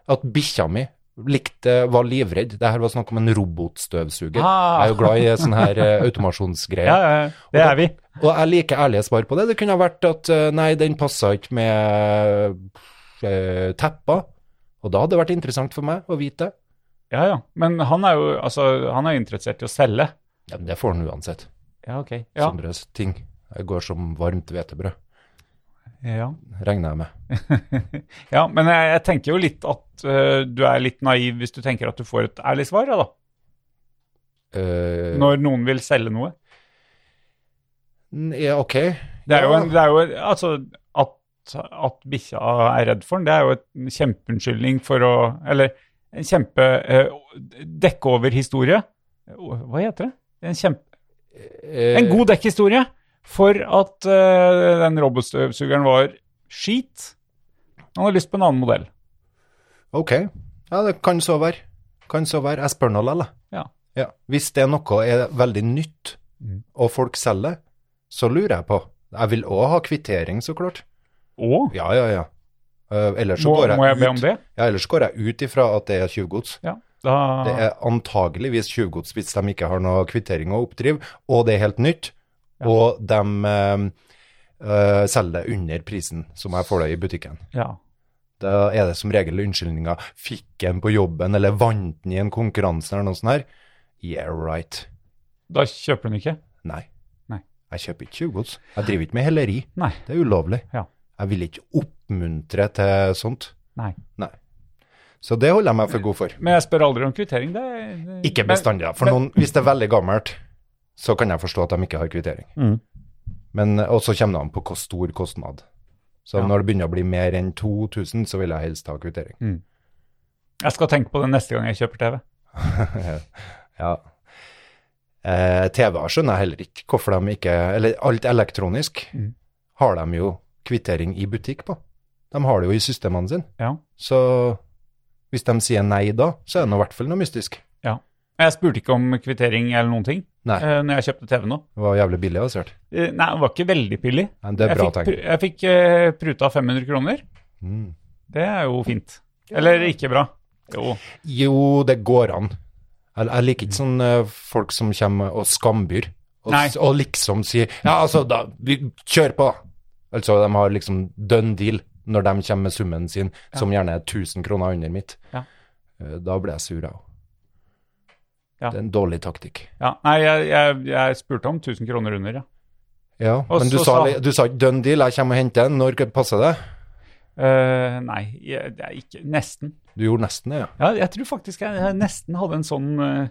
At bikkja mi likte, var livredd. Det her var snakk om en robotstøvsuger.
Ah.
Jeg er jo glad i sånne her eh, automasjonsgreier.
Ja, ja, ja, det er vi.
Og jeg liker ærlige svar på det. Det kunne ha vært at eh, nei, den passa ikke med uh, teppa. Og da hadde det vært interessant for meg å vite det.
Ja, ja. Men han er jo altså, han er jo interessert i å selge.
Ja, men det får han uansett.
Ja, ok. Ja.
Sånne ting. Det går som varmt hvetebrød,
Ja.
regner jeg med.
ja, men jeg, jeg tenker jo litt at eh, du er litt naiv hvis du tenker at du får et ærlig svar, ja da.
Eh,
Når noen vil selge noe.
n- ja, ok.
Det er jo,
Ja.
en, det er jo altså, at, at bikkja er redd for den, det er jo en kjempeunnskyldning for å Eller en kjempe eh, dekke over historie. Hva heter det? En, kjempe,
Eh,
en god dekkhistorie for at eh, den robotstøvsugeren var skit. Han har lyst på en annen modell.
Ok. Ja, det kan så være. Kan så være. Jeg spør nå likevel. jeg.
Ja. Mm.
Ja. Hvis det er noe er veldig nytt, og folk selger, så lurer jeg på. Jeg vil òg ha kvittering, så klart.
Og
Ja, ja, ja. Eh, ellers så
må,
går jeg
må jeg be
ut.
om det?
Ja, ellers går jeg ut ifra at det er tjuvgods.
Ja. Da,
Det er antageligvis tjuvgods hvis de ikke har noe kvittering å oppdrive, og det er helt nytt, og de eh, eh, selger det under prisen som jeg får det i butikken.
ja.
Da er det som regel unnskyldninga 'fikk en på jobben', eller 'vant den i en konkurranse', eller noe sånt her. Yeah, right.
da kjøper hun ikke?
Nei.
Nei.
Jeg kjøper ikke tjuvgods. Jeg driver ikke med helleri.
Nei.
Det er ulovlig.
Ja.
Jeg vil ikke oppmuntre til sånt.
Nei.
Nei. Så det holder jeg meg for god for.
Men jeg spør aldri om kvittering. Det, er- det,
Ikke
men-
bestandig. da. For
men-
noen, hvis det er veldig gammelt, så kan jeg forstå at de ikke har kvittering.
Mm.
Men, eh, og så kommer det an på hvor stor kostnad. Så
Ja.
når det begynner å bli mer enn 2000, så vil jeg helst ha kvittering.
Jeg skal tenke på det neste gang jeg kjøper TV.
Ja. Eh, TV-er skjønner jeg heller ikke hvorfor de ikke Eller alt elektronisk
Mm.
har de jo kvittering i butikk på. De har det jo i systemene sine.
Ja.
Så hvis de sier nei da, så er det nå i hvert fall noe mystisk.
ja. Jeg spurte ikke om kvittering eller noen ting
Nei.
eh, når jeg kjøpte TV nå.
Det var jævlig billig, altså. hørt.
Eh, Nei, den var ikke veldig billig.
Men det er bra
jeg fikk,
tegn.
pr- jeg fikk eh, pruta 500 kroner.
Mm.
Det er jo fint. Eller ikke bra. Jo.
Jo, det går an. Jeg, jeg liker ikke sånn eh, folk som kommer og skambyr, og,
Nei.
s- og liksom sier Ja, altså, da, vi kjør på, da. Altså, de har liksom done deal når de kommer med summen sin, som gjerne er 1000 kroner under mitt.
Ja.
Eh, Da blir jeg sur, jeg òg.
Ja.
Det er en dårlig taktikk.
Ja. Nei, jeg, jeg, jeg spurte om 1000 kroner under, ja.
Ja,
Og
men du
så
sa,
sa-
li- du sa ikke 'done deal', jeg kommer og henter den. Når passer det?
Eh, nei, jeg, det er ikke Nesten.
Du gjorde nesten det, ja.
Ja, jeg tror faktisk jeg, jeg nesten hadde en sånn eh,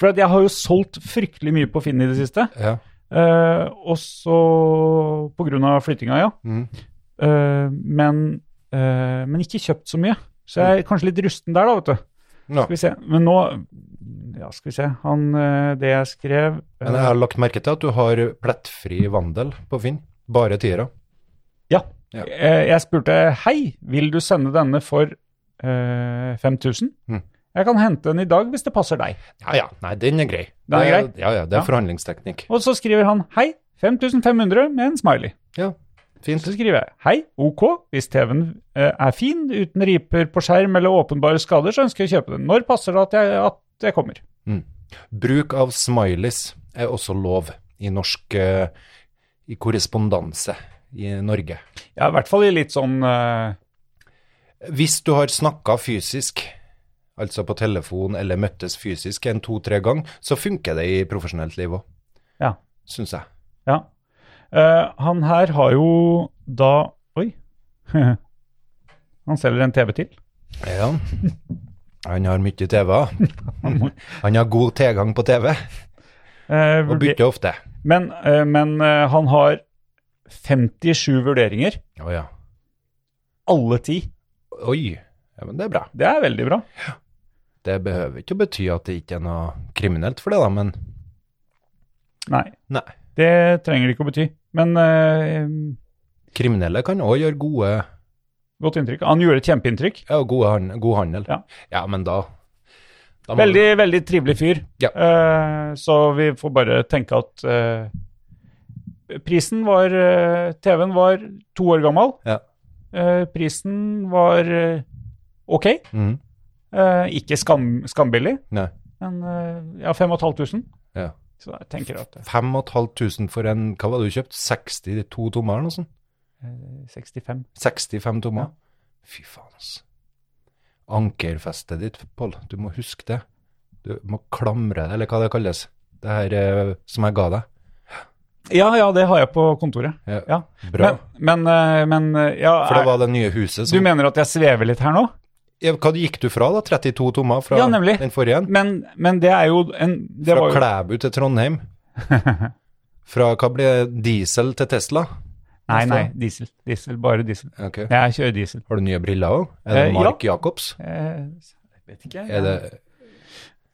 For at jeg har jo solgt fryktelig mye på Finn i det siste.
ja.
Eh, og så på grunn av flyttinga, ja.
Mm.
Eh, men, eh, men ikke kjøpt så mye. Så jeg er kanskje litt rusten der, da, vet du.
Nå.
Skal vi se. Men nå Ja, skal vi se. Han eh, Det jeg skrev eh,
Men jeg har lagt merke til at du har plettfri vandel på Finn. Bare tiere.
Ja.
Ja.
Eh, Jeg spurte Hei, vil du sende denne for eh, 5000?
Mm.
Jeg kan hente den i dag hvis det passer deg.
Ja, ja. Nei, den er grei.
Den er
Det- Ja, ja, det er
Ja.
forhandlingsteknikk.
Og så skriver han Hei, 5500 med en smiley.
Ja, fint.
Så skriver jeg Hei, ok, hvis TV-en eh, er fin, uten riper på skjerm eller åpenbare skader, så ønsker jeg å kjøpe den. Når passer det at jeg, at jeg kommer?
Bruk av smileys er også lov i norsk eh, i korrespondanse i Norge.
Ja, i hvert fall i litt sånn eh,
Hvis du har snakka fysisk, altså på telefon eller møttes fysisk en to-tre gang, så funker det i profesjonelt liv òg,
Ja.
syns jeg.
Ja. Eh, han her har jo da Oi. han selger en TV til.
Ja. Han har mye TV. Han har god tilgang på TV,
Eh,
og bytter ofte.
Men, eh, men eh, han har 57 vurderinger.
Å ja.
Alle ti.
Oi. Ja, men det er bra.
Det er veldig bra.
Det behøver ikke å bety at det ikke er noe kriminelt for det, da, men
Nei,
nei.
det trenger det ikke å bety. Men eh,
Kriminelle kan òg gjøre gode,
godt inntrykk. Han gjorde et kjempeinntrykk.
ja, gode han, god handel.
Ja.
men da, da må
Veldig, veldig trivelig fyr.
Ja.
Eh, så vi får bare tenke at eh, prisen var eh, TV-en var to år gammel.
Ja.
Eh, prisen var eh, ok.
du- Mhm,
Eh, ikke skam, skambillig,
Nei.
men eh, ja, 5500.
Ja.
Så jeg tenker at
5500 for en Hva var det du kjøpte? 62 tommer eller noe sånt?
eh, 65
65 tommer? Fy faen, altså. Ankerfestet ditt, Pål, du må huske det. Du må klamre det, eller hva det kalles. Det her eh, som jeg ga deg.
Ja, ja, det har jeg på kontoret.
Ja,
Ja.
Bra.
Men, men, eh, men eh, ja,
for det
er-
var sånn- det nye huset
Du
som
mener at jeg svever litt her nå?
ja, Hva gikk du fra, da? 32 tommer fra
Ja, nemlig.
den forrige? en?
Men, men det er jo en det
Fra
var jo,
Klæbu til Trondheim. Fra hva ble diesel til Tesla?
Nei, nei, diesel. Diesel, Bare diesel.
Ok.
Jeg kjører diesel.
Har du nye briller òg? Er det
Eh,
Mark Jacobs?
Eh, Jeg vet ikke.
Er det,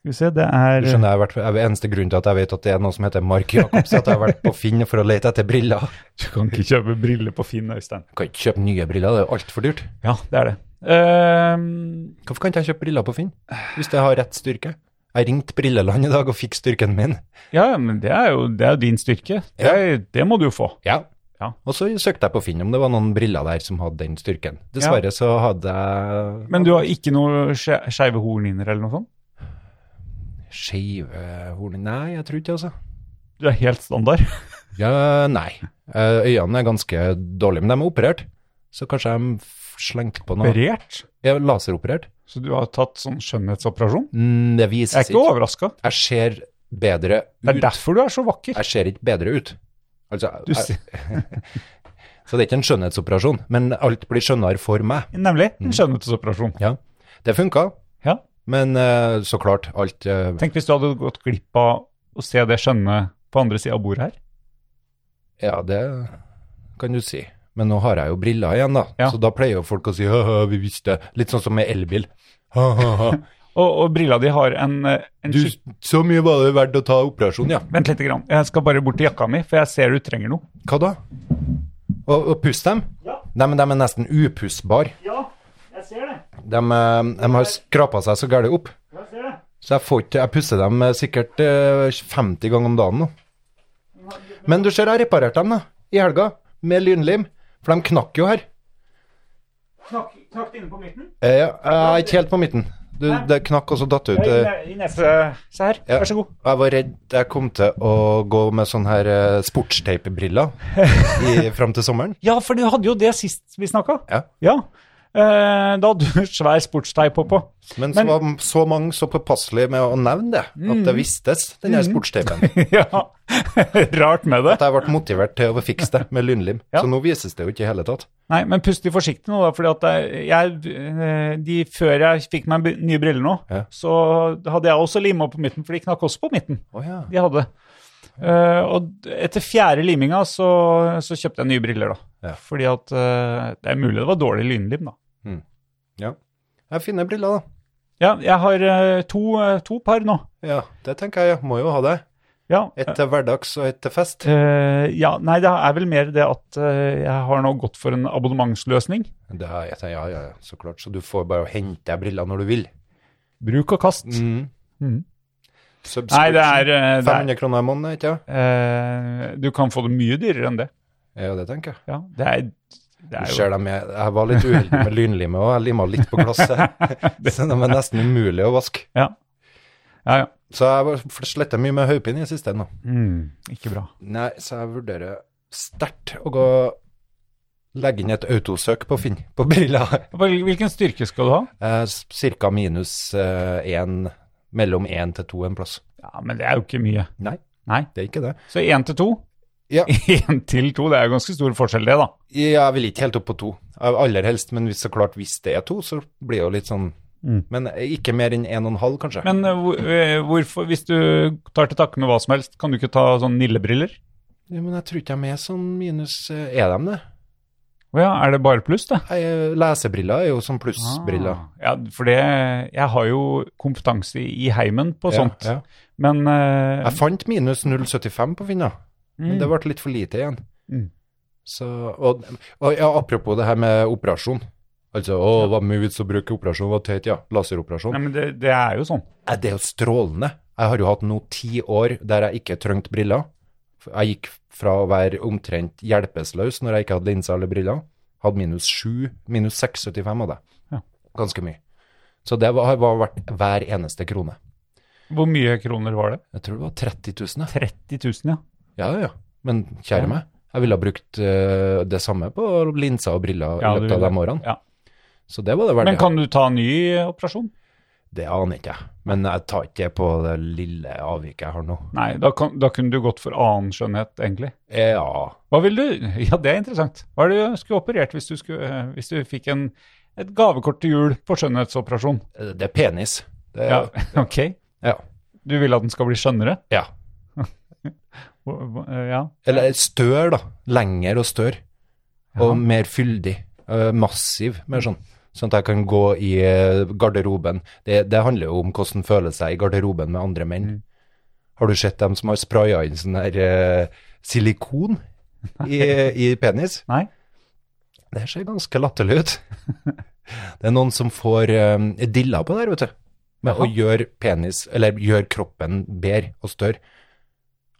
Skal vi se, det
du
er
skjønner, jeg har vært, jeg, eneste grunnen til at jeg vet at det er noe som heter Mark Jacobs, er at jeg har vært på Finn for å lete etter briller.
Du kan ikke kjøpe briller på Finn, Øystein.
Jeg kan ikke kjøpe nye briller, det er jo altfor dyrt.
Ja, det er det. Ehm,
Hvorfor kan ikke jeg kjøpe briller på Finn, hvis jeg har rett styrke? Jeg ringte Brilleland i dag og fikk styrken min.
ja, ja, men det er jo, det er jo din styrke. Det, er, det må du jo få.
Ja.
Ja.
Og så søkte jeg på Finn om det var noen briller der som hadde den styrken. Dessverre så hadde jeg
Men du har ikke noe skje- skeive hornhinner eller noe sånt?
skeive horn Nei, jeg tror ikke det, altså.
Du er helt standard.
Ja, nei. Eh, Øynene er ganske dårlige, men de er operert. Så kanskje de f- slengte på noe
Berert.
ja, Laseroperert?
Så du har tatt sånn skjønnhetsoperasjon?
Mm, det
Jeg
vises
er ikke
ikke.
overraska.
Jeg ser bedre
Det er
ut.
derfor du er så vakker.
Jeg ser ikke bedre ut. Altså,
Du
jeg, så det er ikke en skjønnhetsoperasjon, men alt blir skjønnere for meg.
Nemlig
Mm.
en skjønnhetsoperasjon.
Ja, Det funka,
Ja.
men eh, så klart, alt eh,
Tenk hvis du hadde gått glipp av å se det skjønne på andre sida av bordet her.
Ja, det kan du si. Men nå har jeg jo briller igjen, da.
Ja.
Så da pleier jo folk å si «Haha, vi visste det. Litt sånn som med elbil. «Haha».
Og, og brilla di har en, eh, en
Du,
skikk-
så mye var det verdt å ta operasjon, ja.
Vent litt, grann. jeg skal bare bort til jakka mi, for jeg ser du trenger noe.
Hva da? Å, å pusse dem? Ja. De, de er nesten upussbare.
Ja, jeg ser det.
De, eh, de har skrapa seg så gærent opp.
Jeg ser det.
Så jeg, får ikke, jeg pusser dem eh, sikkert eh, 50 ganger om dagen nå. Men du ser, jeg reparerte dem da, i helga, med lynlim. For de knakk jo her.
Knakk, knakk det inne på midten.
Eh, ja, jeg er ikke helt på midten. Du, det knakk, og så datt det ut. eh.
I neste Se her,
Ja.
vær så god.
Og Jeg var redd jeg kom til å gå med sånne her eh, sportstapebriller i- fram til sommeren.
Ja, for du hadde jo det sist vi snakka.
Ja.
Eh, da hadde du svær sportsteip oppå.
Men så var så mange så påpasselige med å nevne det,
Mm.
at det vistes, den der sportstapen.
ja. Rart med det.
At jeg ble motivert til å fikse det med lynlim.
Ja.
Så nå vises det jo ikke i hele tatt.
Nei, men pust litt forsiktig nå, da, fordi at jeg- jeg, eh, de, før jeg fikk meg b- nye briller nå,
Ja.
så hadde jeg også lima på midten, for de knakk også på midten.
Å ja.
De hadde. Eh, og d- etter fjerde liminga så, så kjøpte jeg nye briller, da.
Ja.
Fordi at eh, det er mulig det var dårlig lynlim, da.
Jeg finner briller, da.
Ja, jeg har eh, to, eh, to par nå.
Ja, det tenker jeg. Må jo ha det.
Ja,
Et til hverdags og et til fest.
Eh, ja, nei, det er vel mer det at eh, jeg har nå gått for en abonnementsløsning.
Det er, jeg tenker, ja, ja, ja, så klart. Så du får bare hente deg briller når du vil.
Bruk og kast.
Mm.
Mhm.
Subscription.
Nei, det er, eh, det er
500 kroner i måneden, ikke sant?
eh, Du kan få det mye dyrere enn det.
Ja, det tenker jeg.
Ja, det er, det
Du
er jo
ser dem, jeg, jeg var litt uheldig med lynlimet òg. Jeg lima litt på glasset. Så de er nesten umulig å vaske.
Ja. Ja, ja.
Så jeg sletta mye med hodepine i siste nå.
Mm, ikke bra.
Nei, så jeg vurderer sterkt å gå legge inn et autosøk på Finn på briller.
Hvil- Hvilken styrke skal du ha?
Eh, Ca. minus én, mellom én til to en plass.
Ja, Men det er jo ikke mye.
Nei,
Nei.
det er ikke det.
Så én til to?
Ja.
Én til to, det er jo ganske stor forskjell, det, da.
Jeg vil ikke helt opp på to, aller helst. Men hvis, så klart hvis det er to, så blir det jo litt sånn
Mm.
Men ikke mer enn én og en halv, kanskje.
Men eh, hvor- eh, hvorfor, hvis du tar til takke med hva som helst, kan du ikke ta sånn nillebriller?
Ja, men jeg tror ikke de er sånn minus eh, Er de det?
Å ja, er det bare pluss, det?
Nei, Lesebriller er jo som plussbriller.
Ah, Ja, for det Jeg har jo kompetanse i heimen på sånt.
Ja, ja.
Men eh,
Jeg fant minus 0,75 på Finna, men
mm,
det ble litt for lite igjen.
Mm.
Så, og, og ja, apropos det her med operasjon. Altså, å, hva med vits å bruke operasjon, hva teit, ja, laseroperasjon.
Nei, men det, det er jo sånn.
Nei, Det er jo strålende. Jeg har jo hatt nå ti år der jeg ikke trengte briller. Jeg gikk fra å være omtrent hjelpeløs når jeg ikke hadde linser eller briller, hadde minus 7, minus 6,75 av det.
Ja.
Ganske mye. Så det var- har vært hver eneste krone.
Hvor mye kroner var det?
Jeg tror det var 30 000, jeg.
30 000, ja.
Ja, ja. Men kjære
Ja.
meg, jeg ville ha brukt eh, det samme på linser og briller
Ja,
i
du
løpet av de
ville.
årene.
Ja.
Så det var det verdt.
Men kan du ta en ny eh, operasjon?
Det aner ikke jeg. Men jeg tar ikke på det lille avviket jeg har nå.
Nei, da, kan, da kunne du gått for annen skjønnhet, egentlig.
Ja,
Hva vil du Ja, det er interessant. Hva er det du skulle operert hvis du, skulle, eh, hvis du fikk en, et gavekort til jul på skjønnhetsoperasjon?
det er penis. Det,
Ja,
er-
ok.
ja.
Du vil at den skal bli skjønnere?
Ja.
Hva- hva- eh, Ja.
Eller stør, da. Lenger og stør. Og mer fyldig. eh, massiv. Mer sånn. Sånn at jeg kan gå i eh, garderoben. Det, det handler jo om hvordan føler seg i garderoben med andre menn.
Mm.
Har du sett dem som har spraya inn sånn her eh, silikon i, i penis?
Nei?
Det ser ganske latterlig ut. Det er noen som får eh, dilla på der, vet du. Med å
Jaha.
gjøre penis, eller gjøre kroppen bedre og større.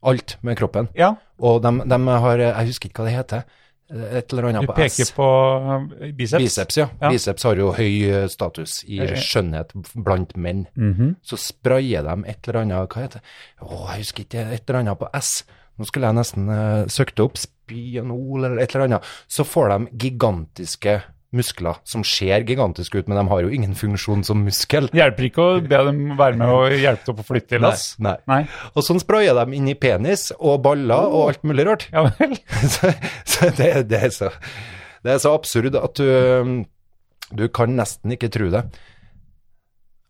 Alt med kroppen.
Ja.
Og de, har, jeg husker ikke hva det heter, et eller
Du
annet på
peker
S.
på eh, biceps?
Biceps, ja.
Ja.
Biceps har jo høy eh, status i
Ja, ja.
skjønnhet blant menn.
Mhm.
Så sprayer de et eller annet, hva heter det? Å, jeg husker ikke, et eller annet på S. Nå skulle jeg nesten eh, søkt opp spionol eller et eller annet. Så får de gigantiske muskler som ser gigantiske ut, men de har jo ingen funksjon som muskel.
Hjelper ikke å be dem være med og hjelpe til å få flytte i
Nei,
lass?
nei.
Nei.
Og sånn sprayer de inn i penis og baller og alt mulig rart.
Ja vel.
så så det, det, er så, det er så absurd at du, um, du kan nesten ikke tro det.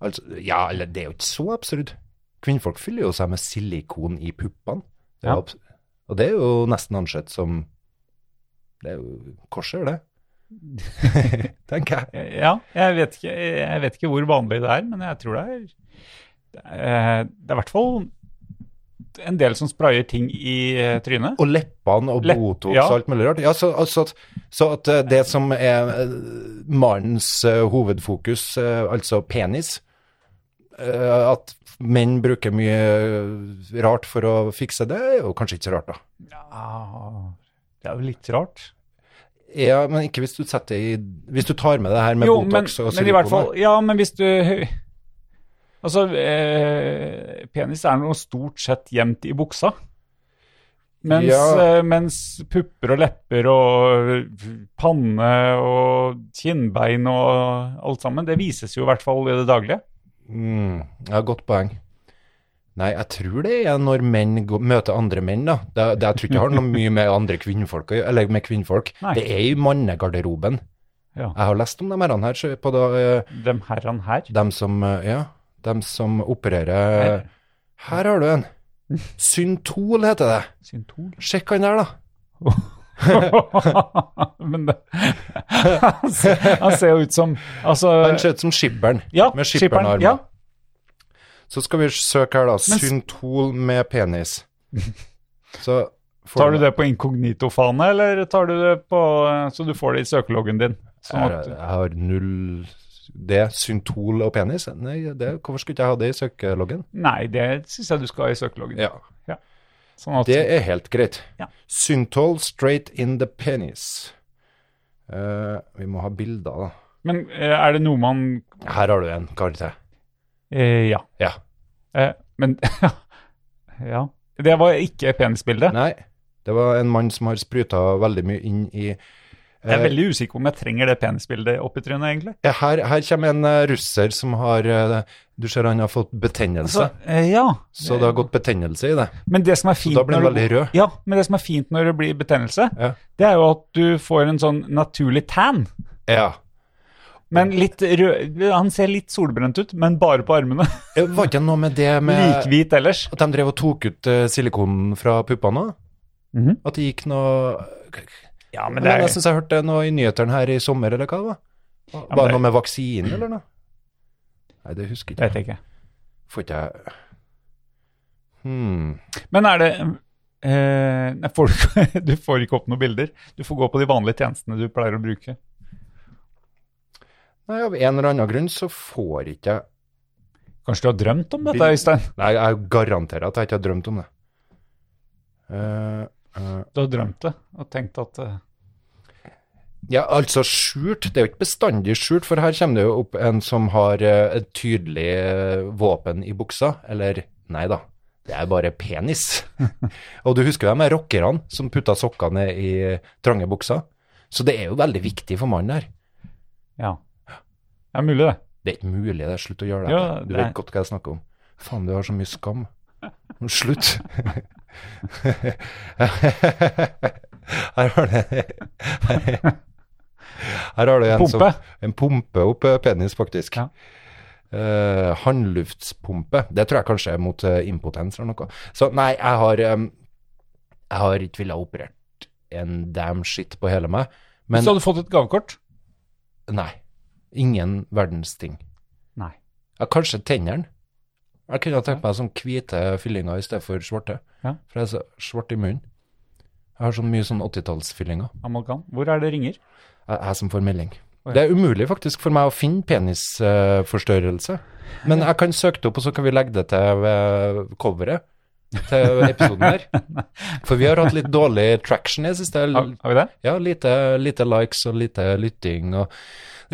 Altså, ja, eller det er jo ikke så absurd. Kvinnfolk fyller jo seg med silikon i puppene. Det er
Ja.
abs- Og det er jo nesten ansett som Det er jo korser, det. tenker jeg.
Ja, jeg vet, ikke, jeg vet ikke hvor vanlig det er, men jeg tror det er Det er, det er i hvert fall en del som sprayer ting i eh, trynet.
Og leppene og
Lepp-
Botox
ja.
og alt mulig rart. Ja, så, altså at, så at eh, det som er eh, mannens eh, hovedfokus, eh, altså penis eh, At menn bruker mye eh, rart for å fikse det, er jo kanskje ikke så rart, da. Ah.
Ja, det er jo litt rart.
Ja, men ikke hvis du setter i Hvis du tar med det her med
jo, men,
Botox og
men i hvert fall
silikone.
Ja, men hvis du Altså, eh, penis er noe stort sett gjemt i buksa. Mens,
Ja.
eh, mens pupper og lepper og panne og kinnbein og alt sammen, det vises jo i hvert fall i det daglige.
Mm, ja, godt poeng. Nei, jeg tror det er når menn gå- møter andre menn, da. Det, det, jeg tror ikke det har noe mye med andre kvinnfolk å gjø- eller med kvinnfolk.
Nei.
Det er i mannegarderoben.
Ja.
Jeg har lest om de herrene her, så på da, eh,
Dem herran her.
dem som, eh, ja, dem som opererer
Her.
Her har du en. Syntol heter det.
Syntol.
Sjekk han der, da.
men det, han, ser, han ser jo ut som Altså
Han ser ut som skipperen,
ja,
med
skipperen,
skipperarmer.
Ja,
Så skal vi søke her, da.
Men s-
Syntol med penis. Så får
Tar du det på inkognito-fane, eller tar du det på eh, Så du får det i søkeloggen din? Sånn
Jeg,
at,
jeg har null det, syntol og penis. Nei, det, hvorfor skulle ikke jeg ha det i søkeloggen?
nei, det syns jeg du skal ha i søkeloggen. Sånn at,
Det er helt greit.
Ja.
Syntol straight in the penis. Eh, vi må ha bilder, da.
men eh, er det noe man
Her har du en, kar til.
eh, Ja.
Ja.
Eh, men Ja. Det var ikke penisbildet.
Nei, det var en mann som har spruta veldig mye inn i eh,
Jeg er veldig usikker på om jeg trenger det penisbildet oppi trynet, egentlig.
Ja, Her, her kommer en eh, russer som har eh, Du ser han har fått betennelse.
Så, eh, ja.
Så det har gått betennelse i det.
Men det som er fint
da blir den
når det-
veldig rød.
Ja, men det som er fint når det blir betennelse,
Ja.
det er jo at du får en sånn naturlig tan.
Ja.
Men litt rød Han ser litt solbrent ut, men bare på armene.
Eh, Var ikke noe med det med
Likhvit ellers.
At de drev og tok ut eh, silikonen fra puppene?
Mhm.
At det gikk noe
Ja,
Men
men altså, det er
Jeg syns jeg hørte noe i nyhetene her i sommer, eller hva det var? Var
men det-
det noe med vaksine, eller noe? Nei, det husker
Det
ikke
vet jeg ikke.
Får ikke jeg hmm.
Men er det eh, Nei, får du, du får ikke opp noen bilder. Du får gå på de vanlige tjenestene du pleier å bruke.
Nei, av en eller annen grunn så får ikke jeg
Kanskje du har drømt om dette,
Bil-
Øystein?
Nei, jeg garanterer at jeg ikke har drømt om det. Eh, eh,
Du har drømt det og tenkt at eh,
ja, altså skjult Det er jo ikke bestandig skjult, for her kommer det jo opp en som har eh, et tydelig eh, våpen i buksa. Eller nei da, det er bare penis. Og du husker hvem er rockerne som putta sokkene i eh, trange bukser? Så det er jo veldig viktig for mannen her.
Ja. Det er mulig, det.
Det er ikke mulig, det er slutt å gjøre det.
Ja,
du
det er-
vet godt hva jeg snakker om. Faen, du har så mye skam. Slutt. her har du Her har du en
Pumpe.
som En pumpe opp eh, penis, faktisk.
Ja.
Eh, Håndluftspumpe. Det tror jeg kanskje er mot eh, impotens eller noe. Så nei, jeg har em, Jeg har ikke villet ha operert en damn shit på hele meg. Men
Så hadde du fått et gavekort?
nei. Ingen verdens ting.
Nei.
Ja, kanskje tennene. Jeg kunne ha tenkt meg sånn hvite fyllinger i stedet for svarte.
Ja.
For jeg er så svart i munnen. Jeg har sånn mye sånn 80-tallsfyllinger.
Amalgam. Hvor er det ringer?
Jeg, jeg som får melding.
Å, ja.
Det er umulig faktisk for meg å finne penisforstørrelse. Men jeg kan søke det opp, og så kan vi legge det til eh, coveret til episoden her. For vi har hatt litt dårlig traction i det siste.
Har, har vi det?
Ja, lite, lite likes og lite lytting. Og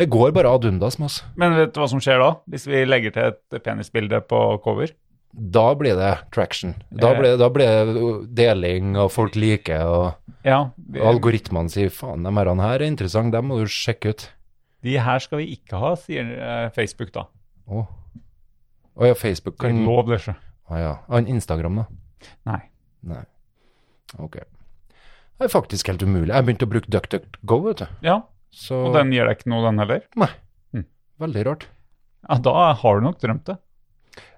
det går bare ad undas med oss.
Men vet du hva som skjer da, hvis vi legger til et penisbilde på cover?
da blir det traction. Da
Eh.
blir, da blir det deling, og folk liker, og
Ja. vi-
algoritmene sier faen, de herrene her er interessante, dem må du sjekke ut.
De her skal vi ikke ha, sier eh, Facebook da.
Å Å ja, Facebook
Det er
kan
ikke lov, det ikke.
Å Ah, ja. An Instagram, da?
Nei.
Nei. Ok. Det er faktisk helt umulig. Jeg begynte å bruke DuckDuckGo, vet du.
Ja,
Så
og den gir deg ikke noe, den heller?
Nei.
Hm.
Veldig rart.
Ja, da har du nok drømt det.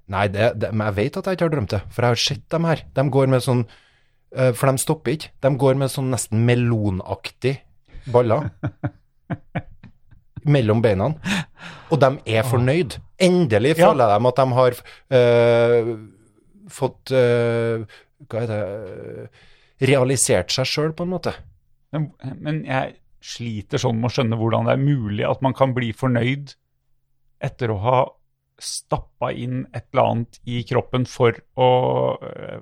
Nei, det, det, men jeg vet at jeg ikke har drømt det, for jeg har sett dem her. De går med sånn eh, For de stopper ikke. De går med sånn nesten melonaktig baller. mellom beina, og de er fornøyd. Endelig
Ja.
føler de at de har øh, fått øh, Hva heter det øh, Realisert seg sjøl, på en måte.
Men, men jeg sliter sånn med å skjønne hvordan det er mulig at man kan bli fornøyd etter å ha stappa inn et eller annet i kroppen for å øh,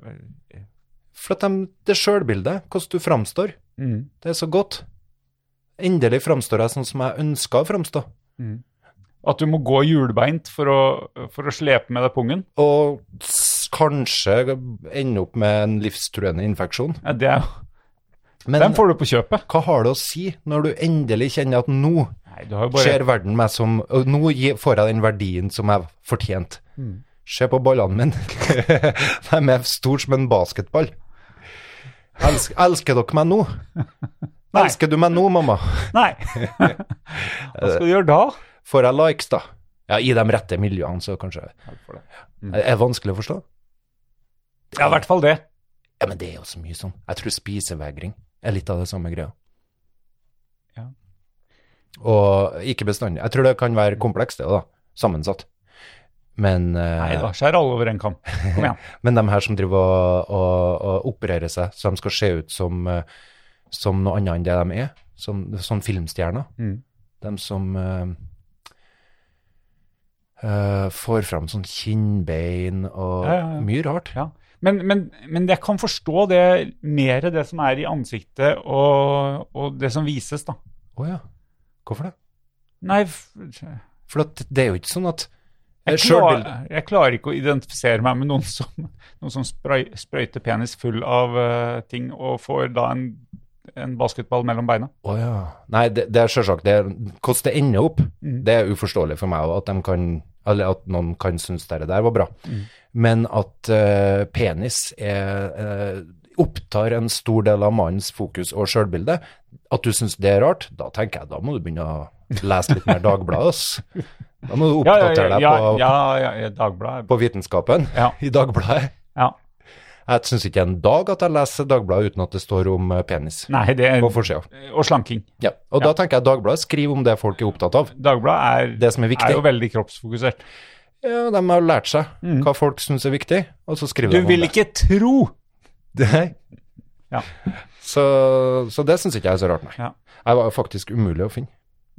For at de, det sjølbildet, hvordan du framstår,
mm,
det er så godt. Endelig framstår jeg sånn som jeg ønska å framstå.
At du må gå hjulbeint for å, for å slepe med deg pungen.
Og s- kanskje ende opp med en livstruende infeksjon.
Ja, det er, jo-
Men
den får du på kjøpet.
hva har det å si når du endelig kjenner at nå
Nei, du har jo bare
ser verden meg som og Nå gi- får jeg den verdien som jeg fortjente.
Mm.
Se på ballene mine. De er store som en basketball. Elsker, elsker dere meg nå?
Nei.
Elsker du meg nå, mamma?
Nei! Hva skal du gjøre da?
Får jeg likes, da? Ja, i de rette miljøene, så kanskje. Det er vanskelig å forstå.
Ja, i hvert fall det.
Ja, men det er jo så mye sånn. Jeg tror spisevegring er litt av det samme greia.
Ja.
Og ikke bestandig. Jeg tror det kan være komplekst, det da. Sammensatt. Men, eh,
Nei da, skjær alle over en kam. Kom igjen.
men de her som driver og, og, og opererer seg, så de skal se ut som, eh, som noe annet enn det de er, som, sånn filmstjerner.
Mm.
De som eh, eh, får fram sånn kinnbein og
Ja, ja, ja.
mye rart.
Ja. Men, men, men jeg kan forstå det mer, det som er i ansiktet og, og det som vises, da.
Å ja. Hvorfor det?
Nei, f-
For at det er jo ikke sånn at
jeg, klar,
Sjølbildet
jeg klarer ikke å identifisere meg med noen som, noen som spray, sprøyter penis full av eh, ting og får da en, en basketball mellom beina.
Å ja. Nei, det, det er sjølsagt det er- Hvordan det ender opp,
Mm.
det er uforståelig for meg også, at, de kan, eller at noen kan synes det der var bra.
Mm.
Men at eh, penis er, eh, opptar en stor del av mannens fokus og sjølbilde, at du syns det er rart, da tenker jeg da må du begynne å lese litt mer Dagbladet, ass. Da må du
Ja, ja,
oppdatere
ja,
deg
ja,
på,
ja, ja, ja Dagbladet.
på vitenskapen
Ja.
i Dagbladet.
Ja.
Jeg syns ikke en dag at jeg leser Dagbladet uten at det står om eh, penis
Nei, det er
på forsida.
Og slanking.
Ja, og da tenker jeg Dagbladet skriver om det folk er opptatt av.
Dagbladet er,
Det som er viktig.
jo veldig kroppsfokusert.
Ja, de har lært seg hva folk syns er viktig, og så skriver
Mm. Du
de om
vil
det.
ikke tro!
Nei.
Ja.
Så, så det syns ikke jeg er så rart, nei.
Ja.
Jeg var jo faktisk umulig å finne.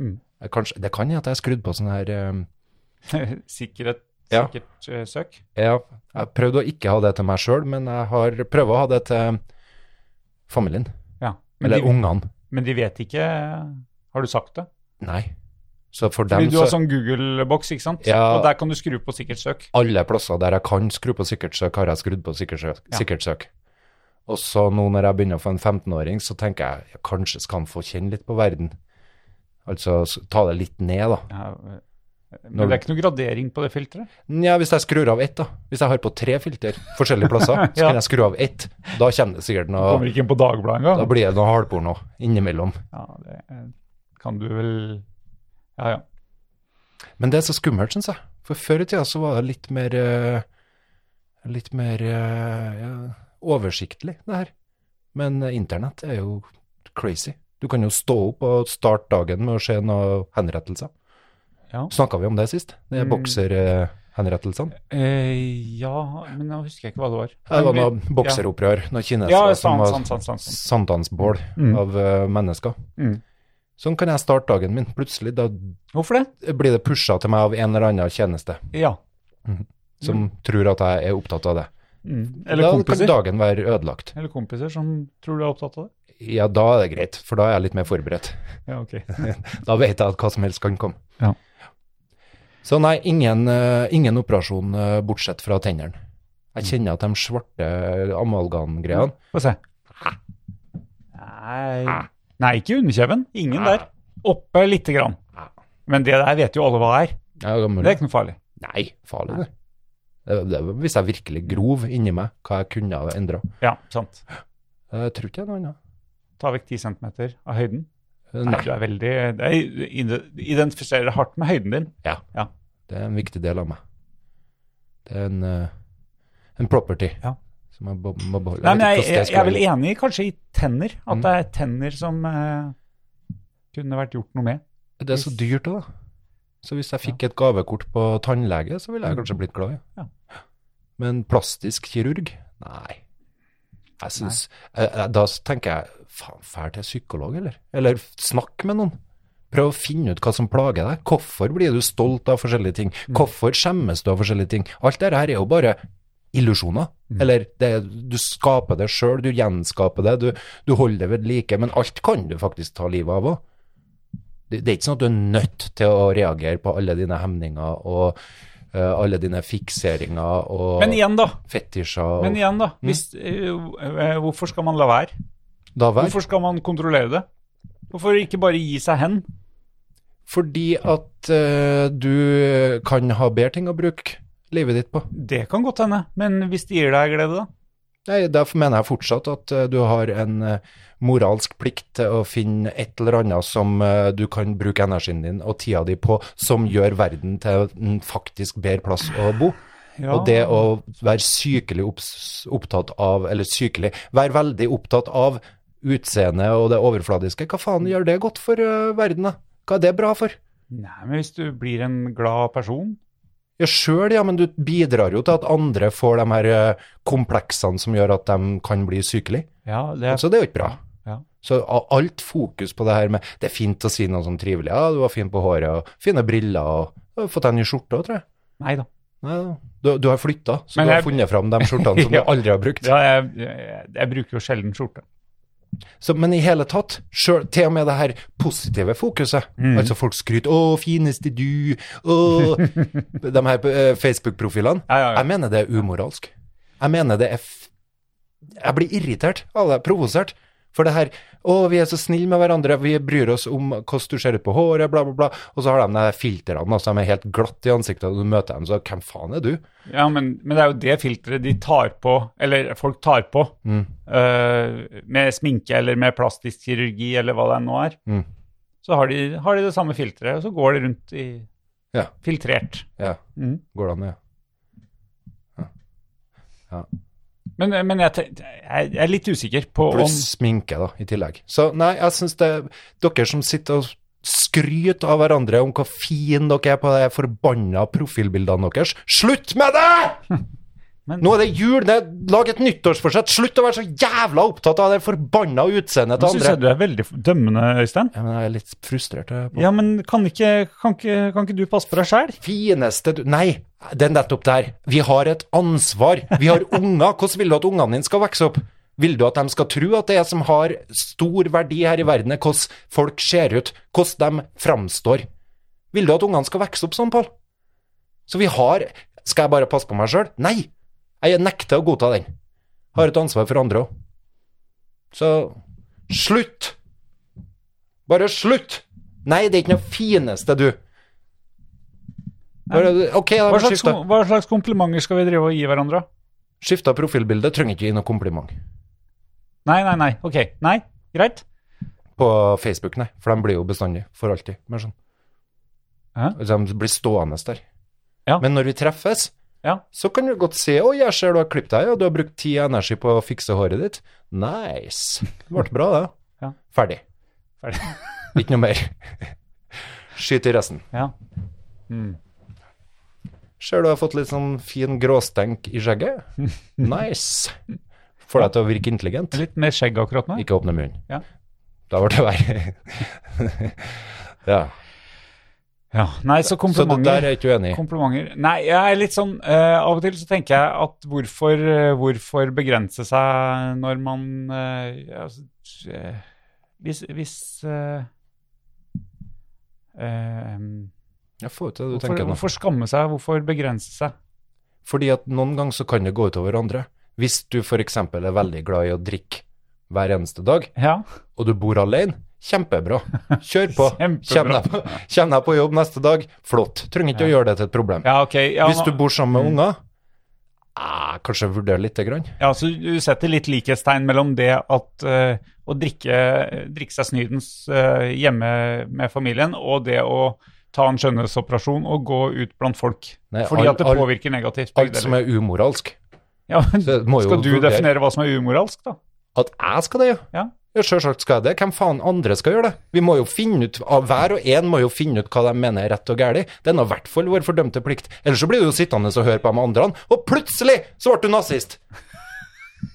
Mm.
Jeg kanskje, det kan hende at jeg har skrudd på sånn her eh,
Sikkerhet,
Ja.
sikkert eh, søk.
Ja, jeg prøvde å ikke ha det til meg sjøl, men jeg har prøvd å ha det til familien.
Ja. Men,
Eller
de,
ungene.
men de vet ikke eh, Har du sagt det?
Nei. Så for
Fordi
dem
du har
så
sånn Google-boks, ikke sant?
Ja.
Og der kan du skru på sikkert søk.
alle plasser der jeg kan skru på sikkert søk, har jeg skrudd på sikkert søk.
Ja.
Sikkert søk. Og så nå når jeg begynner å få en 15-åring, så tenker jeg ja, kanskje skal han få kjenne litt på verden. Altså s- ta det litt ned, da.
Ja, eh,
Når
men det er ikke noe gradering på det filteret.
Nja, hvis jeg skrur av ett, da. Hvis jeg har på tre filter forskjellige plasser, så
Ja.
kan jeg skru av ett. Da kommer det sikkert
Kommer
noe
ikke inn på Dagbladet
Da
engang.
blir det noe hardporno innimellom.
Ja, det eh, kan du vel Ja, ja.
Men det er så skummelt, syns jeg. For før i tida så var det litt mer eh, Litt mer eh, ja, oversiktlig, det her. Men eh, internett er jo crazy. Du kan jo stå opp og starte dagen med å se noen henrettelser.
Ja.
Snakka vi om det sist? De
Mm.
bokserhenrettelsene?
Eh, ja, men nå husker jeg ikke hva det var.
Det var
Men
noe bokseropprør, noen kinesere
Ja,
som
sant,
var
sant, sant, sant, sant.
sankthansbål
Mm.
av eh, mennesker.
Mm.
Sånn kan jeg starte dagen min. Plutselig da
Hvorfor det?
blir det pusha til meg av en eller annen tjeneste
Ja.
som tror at jeg er opptatt av det.
Mm. Eller
da
kompiser.
kan dagen være ødelagt.
Eller kompiser som tror du er opptatt av det.
Ja, da er det greit, for da er jeg litt mer forberedt.
Ja, ok.
Da vet jeg at hva som helst kan komme.
Ja.
Så nei, ingen, eh, ingen operasjon eh, bortsett fra tennene.
Mm.
Jeg kjenner at de svarte amalgangreiene
Få se. Nei, Nei ikke underkjeven. Ingen der. Oppe lite grann. Men det der vet jo alle hva er.
ja, det er
Det er
mulig.
ikke noe farlig.
Nei, farlig det. Det, det var Hvis jeg virkelig grov inni meg hva jeg kunne ha endra.
Ja, sant.
Jeg tror ikke det er noe annet.
Ta vekk 10 cm av høyden.
Eh,
Nei,
Nei,
du er veldig det er- ide- Identifiserer deg hardt med høyden din.
det er en viktig del av meg. Det er en, eh, en property
Ja.
som jeg bo- må beholde.
Nei, men
vet ikke hvordan det
jeg, jeg, jeg er
skal
vel
være.
enig i kanskje i tenner. At det er tenner som eh, kunne vært gjort noe med.
Det er så dyrt òg, da. Så hvis jeg fikk et gavekort på tannlege, så ville jeg kanskje blitt glad.
Mm. Ja.
Men plastisk kirurg? Nei. Jeg synes, eh, eh, Da tenker jeg faen, drar til psykolog, eller? Eller snakk med noen. Prøv å finne ut hva som plager deg. Hvorfor blir du stolt av forskjellige ting?
Mm.
Hvorfor skjemmes du av forskjellige ting? Alt dette her er jo bare illusjoner.
Mm.
Eller det, du skaper det sjøl, du gjenskaper det, du, du holder det ved like. Men alt kan du faktisk ta livet av òg. Det, det er ikke sånn at du er nødt til å reagere på alle dine hemninger og eh, alle dine fikseringer og
Men igjen, da.
fetisjer.
Men
og
igjen da, hvis, eh, eh, hvorfor skal man la være?
da vær.
Hvorfor skal man kontrollere det? Hvorfor ikke bare gi seg hen?
Fordi at eh, du kan ha bedre ting å bruke livet ditt på.
Det kan godt hende, men hvis det gir deg glede, da?
Nei, Derfor mener jeg fortsatt at eh, du har en eh, moralsk plikt til å finne et eller annet som eh, du kan bruke energien din og tida di på, som gjør verden til en faktisk bedre plass å bo.
Ja.
Og det å være sykelig obs- opptatt av, eller sykelig, være veldig opptatt av utseende og det overfladiske, hva faen gjør det godt for eh, verden da? Hva er det bra for?
Nei, men hvis du blir en glad person
Ja, sjøl, ja, men du bidrar jo til at andre får de her eh, kompleksene som gjør at de kan bli sykelige.
Ja, det er
Så det er jo ikke bra.
Ja.
Så a- alt fokus på det her med Det er fint å si noe sånn trivelig. Ja, du var fin på håret, og fine briller, og du har fått deg ny skjorte òg, tror jeg.
Nei da.
Nei, da. du, du har flytta, så
Men
du har
jeg-
funnet fram de skjortene som
Ja.
du aldri har brukt.
Ja, jeg, jeg, jeg bruker jo sjelden skjorte.
Så, men i hele tatt, selv, til og med det her positive fokuset,
Mm.
altså folk skryter 'Å, fineste du', 'Å' De her eh, Facebook-profilene.
Ja, ja, ja.
Jeg mener det er umoralsk. Jeg mener det er f Jeg blir irritert av det, provosert. For det her 'Å, vi er så snille med hverandre, vi bryr oss om hvordan du ser ut på håret', bla, bla, bla. Og så har de de her filtrene, altså de er helt glatte i ansiktet, og du møter dem, så 'Hvem faen er du?'
Ja, men, men det er jo det filteret de tar på, eller folk tar på,
Mm.
eh, med sminke eller med plastisk kirurgi eller hva det nå er.
Mm.
Så har de, har de det samme filteret, og så går de rundt i
Ja.
filtrert.
Ja.
Mhm.
Går det an, ja.
Men, men jeg, ten- jeg, jeg er litt usikker på
Pluss sminke, da, i tillegg. Så nei, jeg syns det Dere som sitter og skryter av hverandre om hvor fin dere er på de forbanna profilbildene deres, slutt med det!
Men-
Nå er det jul, det er, lag et nyttårsforsett. Slutt å være så jævla opptatt av det forbanna utseendet
om
til
Syns jeg
andre.
du er veldig dømmende, Øystein?
Ja, men jeg er litt frustrert. jeg, på-
Ja, men kan ikke, kan ikke, kan ikke du passe på deg sjæl?
Fineste du Nei, det er nettopp der. Vi har et ansvar. Vi har unger. Hvordan vil du at ungene dine skal vokse opp? Vil du at de skal tro at det som har stor verdi her i verden, er hvordan folk ser ut, hvordan de framstår? Vil du at ungene skal vokse opp sånn, Pål? Så vi har Skal jeg bare passe på meg sjøl? Nei! Jeg nekter å godta den. Har et ansvar for andre òg. Så slutt! Bare slutt! Nei, det er ikke noe fineste, du. Bare, ok, da
Hva,
har vi
slags-
skifta.
hva slags komplimenter skal vi drive og gi hverandre?
Skifta profilbilde trenger ikke gi noe kompliment
Nei, nei, nei. Ok. Nei, greit.
på Facebook, nei. For de blir jo bestandig, for alltid. Mer sånn. Altså,
Hæ?
De blir stående der.
Ja.
Men når vi treffes,
Ja.
så kan du godt se Oi, jeg ser du har klippet deg, og du har brukt tid og energi på å fikse håret ditt. Nice. Det ble bra, det.
Ja.
Ferdig.
Ferdig.
Ikke noe mer. Skyt i resten.
Ja.
Ser du har fått litt sånn fin gråstenk i skjegget. Nice. Får deg til å virke intelligent.
Litt mer skjegg akkurat nå.
Ikke åpne munnen.
Ja.
Da ble det verre. ja.
Ja. Nei,
Så
så
det
komplimenter.
der er jeg ikke uenig i.
Komplimenter. Nei, jeg er litt sånn eh, Av og til så tenker jeg at hvorfor, eh, hvorfor begrense seg når man eh, altså, eh, Hvis, hvis eh, eh,
Jeg får ut det du
hvorfor,
tenker nå.
hvorfor skamme seg? Hvorfor begrense seg?
Fordi at noen ganger så kan det gå utover andre. Hvis du f.eks. er veldig glad i å drikke hver eneste dag,
Ja.
og du bor alene, kjempebra. Kjør på. Kjem
Kjempebra.
deg på, kjem deg på jobb neste dag, flott. Trenger ikke å gjøre det til et problem.
ja, ok. Ja, Mm.
Hvis du bor sammen med unger, ah, kanskje vurdere lite grann.
Ja, så du setter litt likhetstegn mellom det at eh, å drikke, drikke seg snydens eh, hjemme med familien, og det å ta en skjønnhetsoperasjon og gå ut blant folk.
Nei,
fordi
all-
at det
all-
påvirker negativt. begge
Alt som
deler.
er umoralsk.
ja, men,
det må jo
skal du
vurdere.
definere hva som er umoralsk, da?
At jeg skal det,
Ja.
Ja, Sjølsagt skal jeg det. Hvem faen andre skal gjøre det? Vi må jo finne ut, av Hver og en må jo finne ut hva de mener er rett og galt. Det er nå i hvert fall vår fordømte plikt. Ellers så blir du jo sittende og høre på de andre, og plutselig så ble du nazist!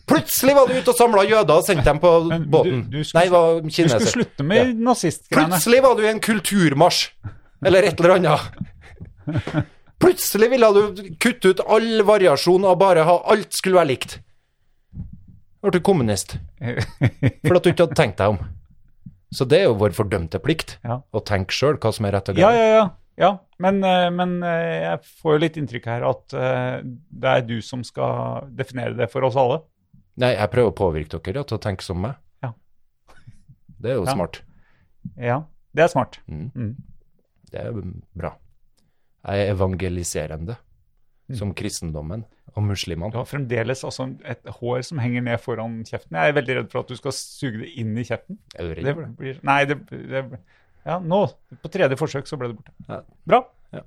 Plutselig var du ute og samla jøder og sendte dem på
Men
båten.
du- du skulle-
Nei, det var
Du skulle
kineser.
slutte med nazistgreiene.
Plutselig var du i en kulturmarsj, eller et eller annet. Plutselig ville du kutte ut all variasjon og bare ha alt skulle være likt. Ble du kommunist fordi at du ikke hadde tenkt deg om. Så det er jo vår fordømte plikt
Ja.
å tenke sjøl hva som er rett og
ja,
galt.
ja, ja. ja. Men, eh, men eh, jeg får jo litt inntrykk her at eh, det er du som skal definere det for oss alle.
Nei, jeg prøver å påvirke dere ja, til å tenke som meg.
Ja.
Det er jo
Ja.
smart.
Ja, det er smart.
Mm.
Mm.
Det er bra. Jeg er evangeliserende
Mm.
som kristendommen og muslimene.
Du har fremdeles altså et hår som henger ned foran kjeften. Jeg er veldig redd for at du skal suge det inn i kjeften.
Er du redd
Det
for det?
blir, nei, det, det Ja, nå, på tredje forsøk, så ble det borte.
Ja.
Bra.
Ja.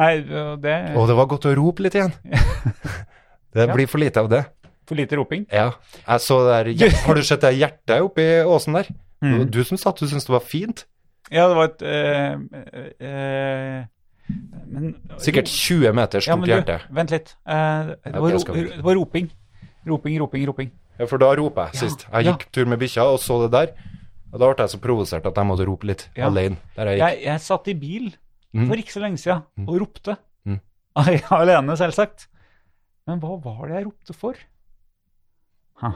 Nei, og det
Å, det var godt å rope litt igjen. Det
Ja.
blir for lite av det.
For lite roping.
Ja. Jeg så det der, hjer- har du sett det hjertet oppi åsen der?
Mm.
Du som satt, du syntes det var fint.
Ja, det var et eh, eh, Men
Sikkert 20 meter
Ja,
stort
men du,
hjerte.
vent litt. Eh, det,
Ok,
var
jeg
ro,
skal vente.
det var roping. Roping, roping, roping.
Ja, for da roper jeg
Ja,
sist. Jeg gikk tur med bikkja og så det der. Og da ble jeg så provosert at jeg måtte rope litt
Ja.
alene. Der jeg gikk.
Jeg, jeg satt i bil
Mm.
for ikke så lenge siden og ropte.
Mm.
Alene, selvsagt. Men hva var det jeg ropte for? Hæ.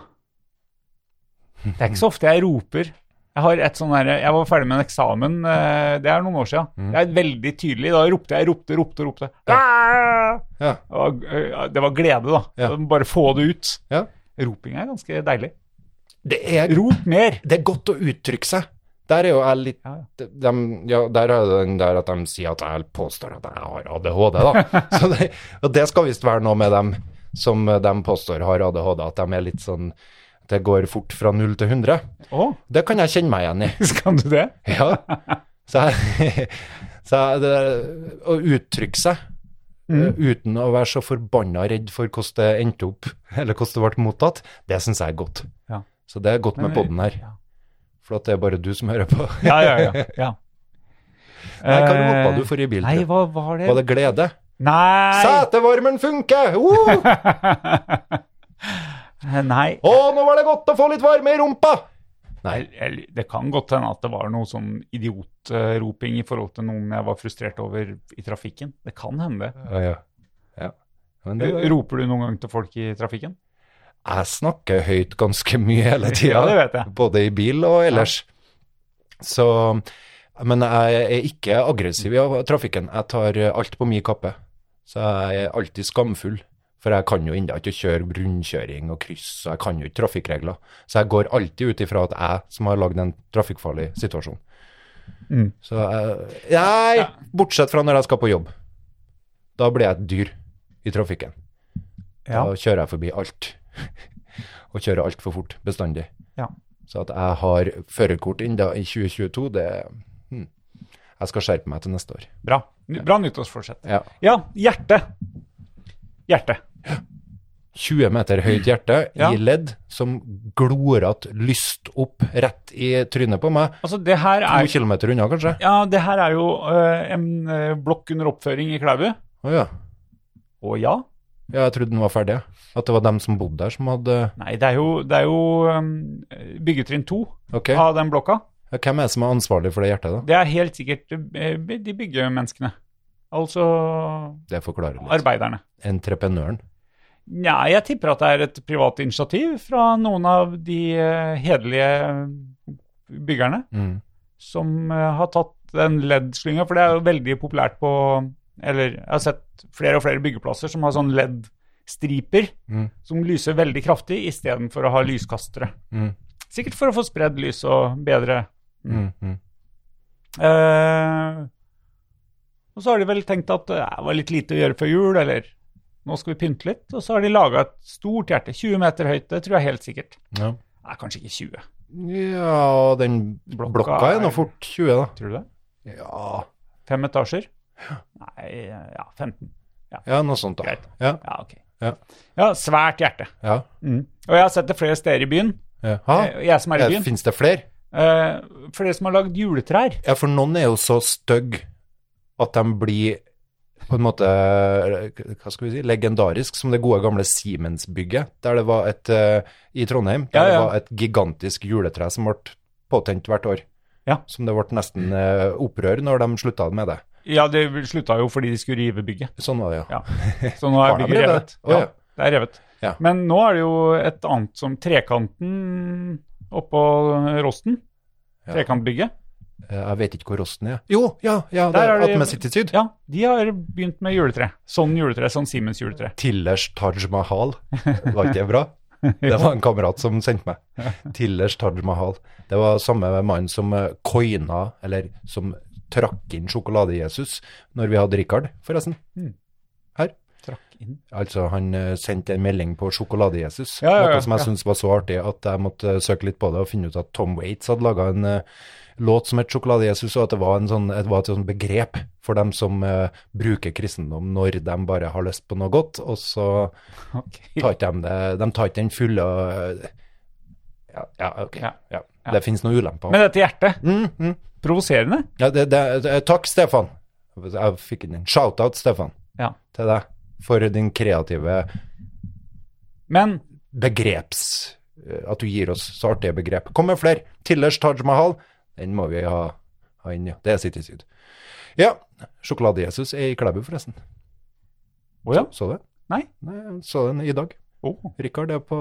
Det er ikke så ofte jeg roper. Jeg, har et sånn derre- jeg var ferdig med en eksamen, eh, det er noen år siden.
Mhm.
Det er veldig tydelig. Da ropte jeg, ropte, ropte, ropte. Ah!
Ja.
Det var- eh, Det var glede, da.
Ja.
Så Bare få det ut.
Ja.
Roping er ganske deilig.
Det, er,
Rop mer!
det er godt å uttrykke seg. Der er jo jeg litt
Ja,
dem- ja, Der er det den der at de sier at jeg påstår at jeg har ADHD, da. Så det, og det skal visst være noe med dem som de påstår har ADHD, at de er litt sånn Det går fort fra null til 100.
Å,
Det kan jeg kjenne meg igjen i.
kan du det?
Ja. Så, jeg, så jeg, det der, å uttrykke seg
Mm.
eh, uten å være så forbanna redd for hvordan det endte opp, eller hvordan det ble mottatt, det syns jeg er godt.
Ja.
Så det er godt med
Men- eh,
podden her,
ja.
for at det er bare du som hører på.
Ja, ja, ja. ja.
Nei, hva ropa du for i bilen?
Eh, Nei,
tror du?
hva var det?
Var det glede?
Nei!
Setevarmen funker! Oh!
Nei.
Å, nå var det godt å få litt varme i rumpa! Nei,
Jeg- jeg- Det kan godt hende at det var noe sånn idiotroping i forhold til noen jeg var frustrert over i trafikken. Det kan hende.
ja, ja. ja. Men det,
Roper du noen gang til folk i trafikken?
jeg snakker høyt ganske mye hele tida.
Ja, det vet jeg.
Både i bil og ellers. Så Men jeg er ikke aggressiv i trafikken. Jeg tar eh, alt på min kappe. Så jeg er alltid skamfull. For jeg kan jo ennå ikke kjøre rundkjøring og kryss, og jeg kan jo ikke trafikkregler. Så jeg går alltid ut ifra at jeg som har lagd en trafikkfarlig situasjon.
Mm.
Så jeg Nei, bortsett fra når jeg skal på jobb. Da blir jeg et dyr i trafikken. Da
Ja.
kjører jeg forbi alt. og kjører altfor fort, bestandig.
Ja.
Så at jeg har førerkort ennå i 2022, det hm. Jeg skal skjerpe meg til neste år.
Bra. Ny- Bra nyttårsforsett.
Ja.
Ja, hjerte. Hjerte.
20 meter høyt hjerte
Ja.
i ledd som glorete lyst opp rett i trynet på meg.
Altså, det her
To
er
kilometer unna, kanskje.
Ja, det her er jo øh, en øh, blokk under oppføring i Klæbu.
Å ja.
Å ja.
ja. Jeg trodde den var ferdig. At det var dem som bodde der, som hadde
Nei, det er jo, det er jo øhm, byggetrinn to
Ok. Ja,
av den blokka.
Hvem er det som er ansvarlig for det hjertet, da?
Det er helt sikkert eh, de byggemenneskene. Altså
Det forklarer litt.
arbeiderne.
Entreprenøren.
Nei, jeg tipper at det er et privat initiativ fra noen av de eh, hederlige byggerne
Mm.
som eh, har tatt den LED-slynga, for det er jo veldig populært på Eller jeg har sett flere og flere byggeplasser som har sånn LED-striper
Mm.
som lyser veldig kraftig istedenfor å ha lyskastere.
Mm.
Sikkert for å få spredd lys og bedre
Mm. Mm.
Eh, og så har de vel tenkt at eh, det var litt lite å gjøre før jul, eller nå skal vi pynte litt. Og så har de laga et stort hjerte, 20 meter høyt, det tror jeg helt sikkert.
Ja.
Nei, kanskje ikke 20,
Ja, den
Blokka
blokka, er nå
er-
fort 20, da.
tror du det?
Ja,
Fem etasjer? Nei, eh, ja, 15.
ja noe sånt, da.
Greit.
Ja,
Ja, ok.
Ja.
Ja, svært hjerte. Mm.
ja.
Og jeg har sett det flere steder i byen.
Ja. Ha?
Jeg, Ah, jeg som er i byen.
Fins det flere?
Eh, for dere som har lagd juletrær.
Ja, for noen er jo så stygge at de blir på en måte eh, hva skal vi si, legendarisk, som det gode gamle Siemens-bygget der det var et, eh, i Trondheim. Der
Ja, ja.
det var et gigantisk juletre som ble påtent hvert år.
Ja.
Som det ble nesten eh, opprør når de slutta med det.
Ja, det slutta jo fordi de skulle rive bygget.
Sånn var det, ja.
Ja. Så nå er
Har de
bygget
revet?
revet.
Å, ja.
det er revet.
Ja.
Men nå er det jo et annet som Trekanten oppå Rosten.
Ja.
Trekantbygget.
Eh, Jeg vet ikke hvor Rosten er. Jo, ja, ja, det
Der
er
er det-
attmed City Syd.
Ja, de har begynt med juletre. Sånn juletre, sånn Siemens juletre.
Tillers Taj Mahal. Var ikke det bra? Det var en kamerat som sendte meg. Tillers Taj Mahal. Det var samme mann som eh, coina, eller som trakk inn Sjokolade-Jesus når vi hadde Richard, forresten. Her.
Trakk inn.
Altså, han eh, sendte en melding på Sjokolade-Jesus,
Ja, ja, ja,
noe som jeg
ja.
syntes var så artig at jeg måtte eh, søke litt på det og finne ut at Tom Waits hadde laga en eh, låt som het Sjokolade-Jesus, og at det var, en sånn, det var et sånn begrep for dem som eh, bruker kristendom når de bare har lyst på noe godt, og så
Ok.
tar ikke de det De tar ikke den fulle øh, Ja, ja ok.
Ja.
Ja. Det finnes noen ulemper.
Men dette hjertet,
mm, mm.
provoserende.
Ja, det, det, det- takk, Stefan. Jeg fikk inn en shout-out, Stefan,
Ja.
til deg for din kreative
Men
begreps... øh, At du gir oss så artige begrep. Kom med flere! Tillers Taj Mahal, den må vi ha, ha inn, ja. Det er City Syd. Ja, Sjokolade-Jesus er i Klæbu, forresten.
Å ja.
Så du det?
Nei.
Nei, så den i dag.
Å,
Rikard er på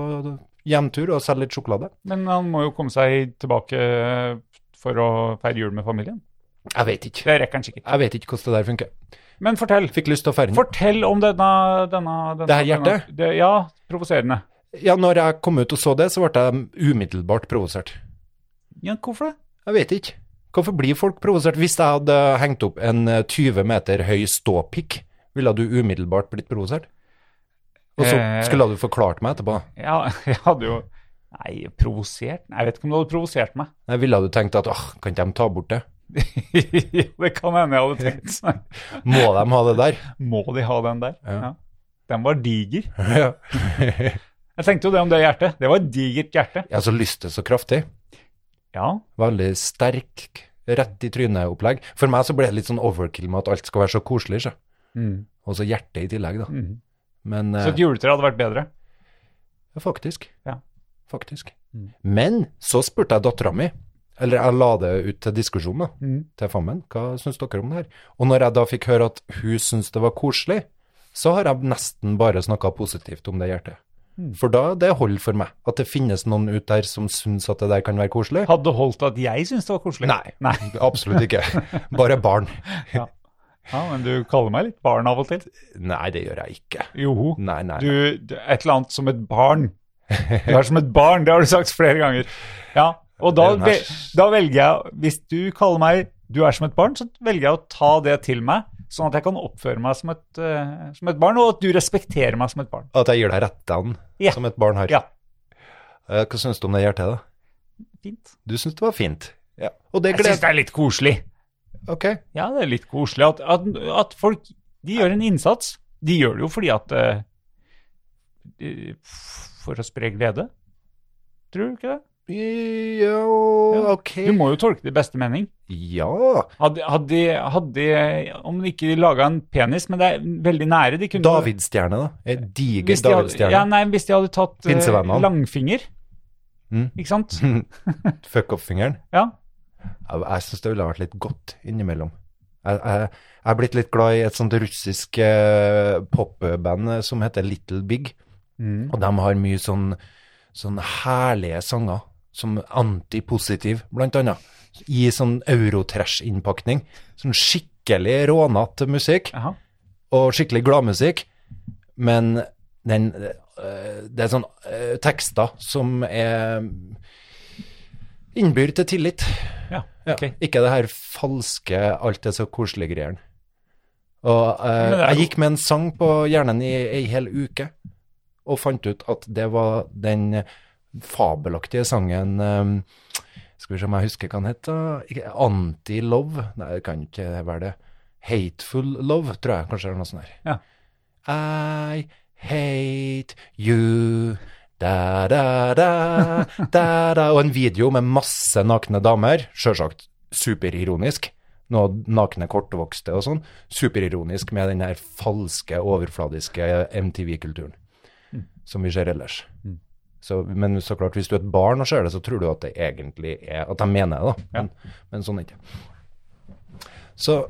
hjemtur og selger litt sjokolade.
Men han må jo komme seg tilbake for å feire jul med familien.
Jeg vet ikke.
Det rekker han sikkert.
Jeg vet ikke hvordan det der funker.
Men fortell.
Fikk lyst til å feire den.
Fortell om denne, denne, denne
Det her hjertet?
denne- det, ja, provoserende.
Ja, når jeg kom ut og så det, så ble jeg umiddelbart provosert.
Ja, hvorfor det?
Jeg vet ikke. Hvorfor blir folk provosert? Hvis jeg hadde hengt opp en eh, 20 meter høy ståpikk, ville du umiddelbart blitt provosert? Og så
Eh.
skulle du forklart meg etterpå.
Ja, jeg hadde jo Nei, provosert Nei, Jeg vet ikke om du hadde provosert meg.
Nei, Ville du tenkt at åh, kan ikke de ta bort det?
det kan hende jeg hadde tenkt. Nei,
Må de ha det der?
Må de ha den der?
Ja.
Den var diger.
Ja.
Jeg tenkte jo det om det hjertet. Det var et digert hjerte.
Jeg har så lyst til så kraftig.
Ja.
Veldig sterk, rett i trynet-opplegg. For meg så ble det litt sånn overkill med at alt skal være så koselig, så.
Mm.
Og så hjertet i tillegg, da.
Mhm.
Men
Så
eh,
et juletre hadde vært bedre.
Ja, faktisk.
Ja.
Faktisk.
Mm.
Men så spurte jeg dattera mi, eller jeg la det ut til diskusjon da,
Mm.
til fammen, hva syns dere om det her? Og når jeg da fikk høre at hun syns det var koselig, så har jeg nesten bare snakka positivt om det hjertet.
Mm.
For da det holder for meg, at det finnes noen ut der som syns at det der kan være koselig.
Hadde det holdt at jeg syntes det var koselig?
Nei. Absolutt ikke. Bare barn.
Ja, men du kaller meg litt barn av og til.
Nei, det gjør jeg ikke.
Joho.
Nei, nei.
Du, du- et eller annet som et barn. Du er som et barn, det har du sagt flere ganger. Ja, og
Det
da,
er
ve-
jo nærs.
da velger jeg, hvis du kaller meg du er som et barn, så velger jeg å ta det til meg, sånn at jeg kan oppføre meg som et, eh, som et barn, og at du respekterer meg som et barn.
At jeg gir deg rettene
Ja.
som et barn har.
Ja,
Eh, Hva syns du om det hjertet, da?
fint.
Du syns det var fint. Ja. Og det
Jeg syns
gleder
det er litt koselig.
Ok.
Ja, det er litt koselig at, at, at folk de gjør en innsats. De gjør det jo fordi at eh, de- For å spre glede. Tror du ikke det?
Jo,
Ja.
ok.
Du må jo tolke det i beste mening.
Ja,
Hadde, hadde, hadde Om de ikke laga en penis, men det er veldig nære de kunne
Davidstjerne, da. En diger
Hvis de hadde,
Davidstjerne.
ja, nei, hvis de hadde tatt eh,
Pinsevennene.
langfinger,
Mm.
ikke sant?
Fuck off-fingeren.
Ja.
Jeg, jeg syns det ville vært litt godt innimellom. Jeg, jeg, jeg er blitt litt glad i et sånt russisk eh, popband eh, som heter Little Big.
Mm.
Og de har mye sånn, sånn herlige sanger, som antipositiv, blant annet. I sånn eurotrash-innpakning. Sånn skikkelig rånete musikk.
Jaha.
og skikkelig gladmusikk, men den, øh, det er sånn øh, tekster som er innbyr til tillit.
Ja,
Ja,
ok.
Ikke det her falske, alt er så koselig greiene. Og øh,
Men det er
jeg
jo-
gikk med en sang på hjernen i ei hel uke, og fant ut at det var den fabelaktige sangen øh, Skal vi se om jeg husker hva den het, da? Ikke- Anti-love? Nei, det kan ikke være det. Hateful love, tror jeg kanskje det er noe sånt der.
Ja.
I hate you. Da, da, da, da, da. Og en video med masse nakne damer. Sjølsagt superironisk. Noe nakne kortvokste og sånn. Superironisk med den her falske, overfladiske MTV-kulturen som vi ser ellers. Så, men så klart, hvis du er et barn og ser det, så tror du at det egentlig er At de mener det, da. Men, men sånn er det ikke. Så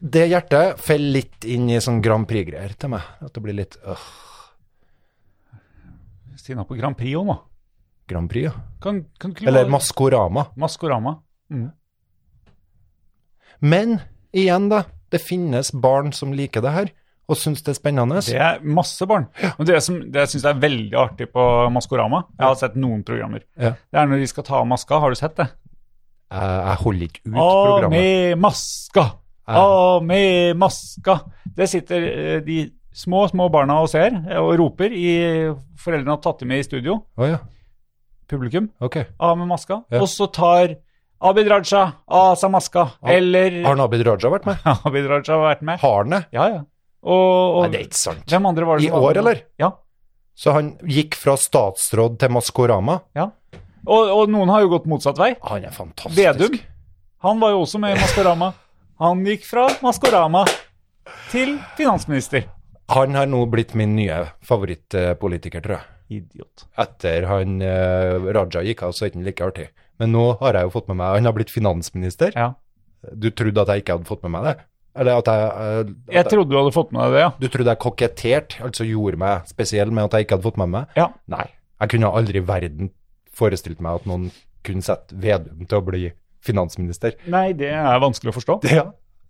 det hjertet faller litt inn i sånn Grand Prix-greier til meg. At det blir litt øh,
Stina på Grand Prix òg, nå.
Grand Prix, ja.
Kan, kan ikke du
Eller
ha-
Maskorama.
Maskorama.
Men igjen, da. Det finnes barn som liker det her, og syns det er spennende.
Det er masse barn. Og det som det jeg syns er veldig artig på Maskorama Jeg har sett noen programmer.
Ja.
Det er når de skal ta av maska. Har du sett det?
Jeg, jeg holder ikke ut
Av
programmet.
med maska! Av med maska! Det sitter eh, de små, små barna og ser eh, og roper. I, foreldrene har tatt dem med i studio.
Å ja,
Publikum.
ok.
Av med maska.
Ja.
Og så tar Abid Raja av seg maska. Eller
Har Abid Raja vært med?
Abid Raja har vært med.
Har han det?
Ja, ja. Og,
Nei,
og
det er ikke sant.
hvem andre var
I
det som var
år,
med?
eller?
Ja.
Så han gikk fra statsråd til Maskorama?
Ja. Og, og noen har jo gått motsatt vei.
Han er fantastisk.
Vedum. Han var jo også med i Maskorama. Han gikk fra Maskorama til finansminister.
Han har nå blitt min nye favorittpolitiker, tror jeg.
Idiot.
Etter han eh, Raja gikk av, så er det ikke like artig. Men nå har jeg jo fått med meg Han har blitt finansminister.
Ja.
Du trodde at jeg ikke hadde fått med meg det? Eller at jeg, eh, at
Jeg trodde du hadde fått med deg det, ja.
Du trodde jeg koketterte, altså gjorde meg spesiell med at jeg ikke hadde fått med meg?
Ja.
Nei. Jeg kunne aldri i verden forestilt meg at noen kunne sette Vedum til å bli finansminister.
Nei, det er vanskelig å forstå.
Det,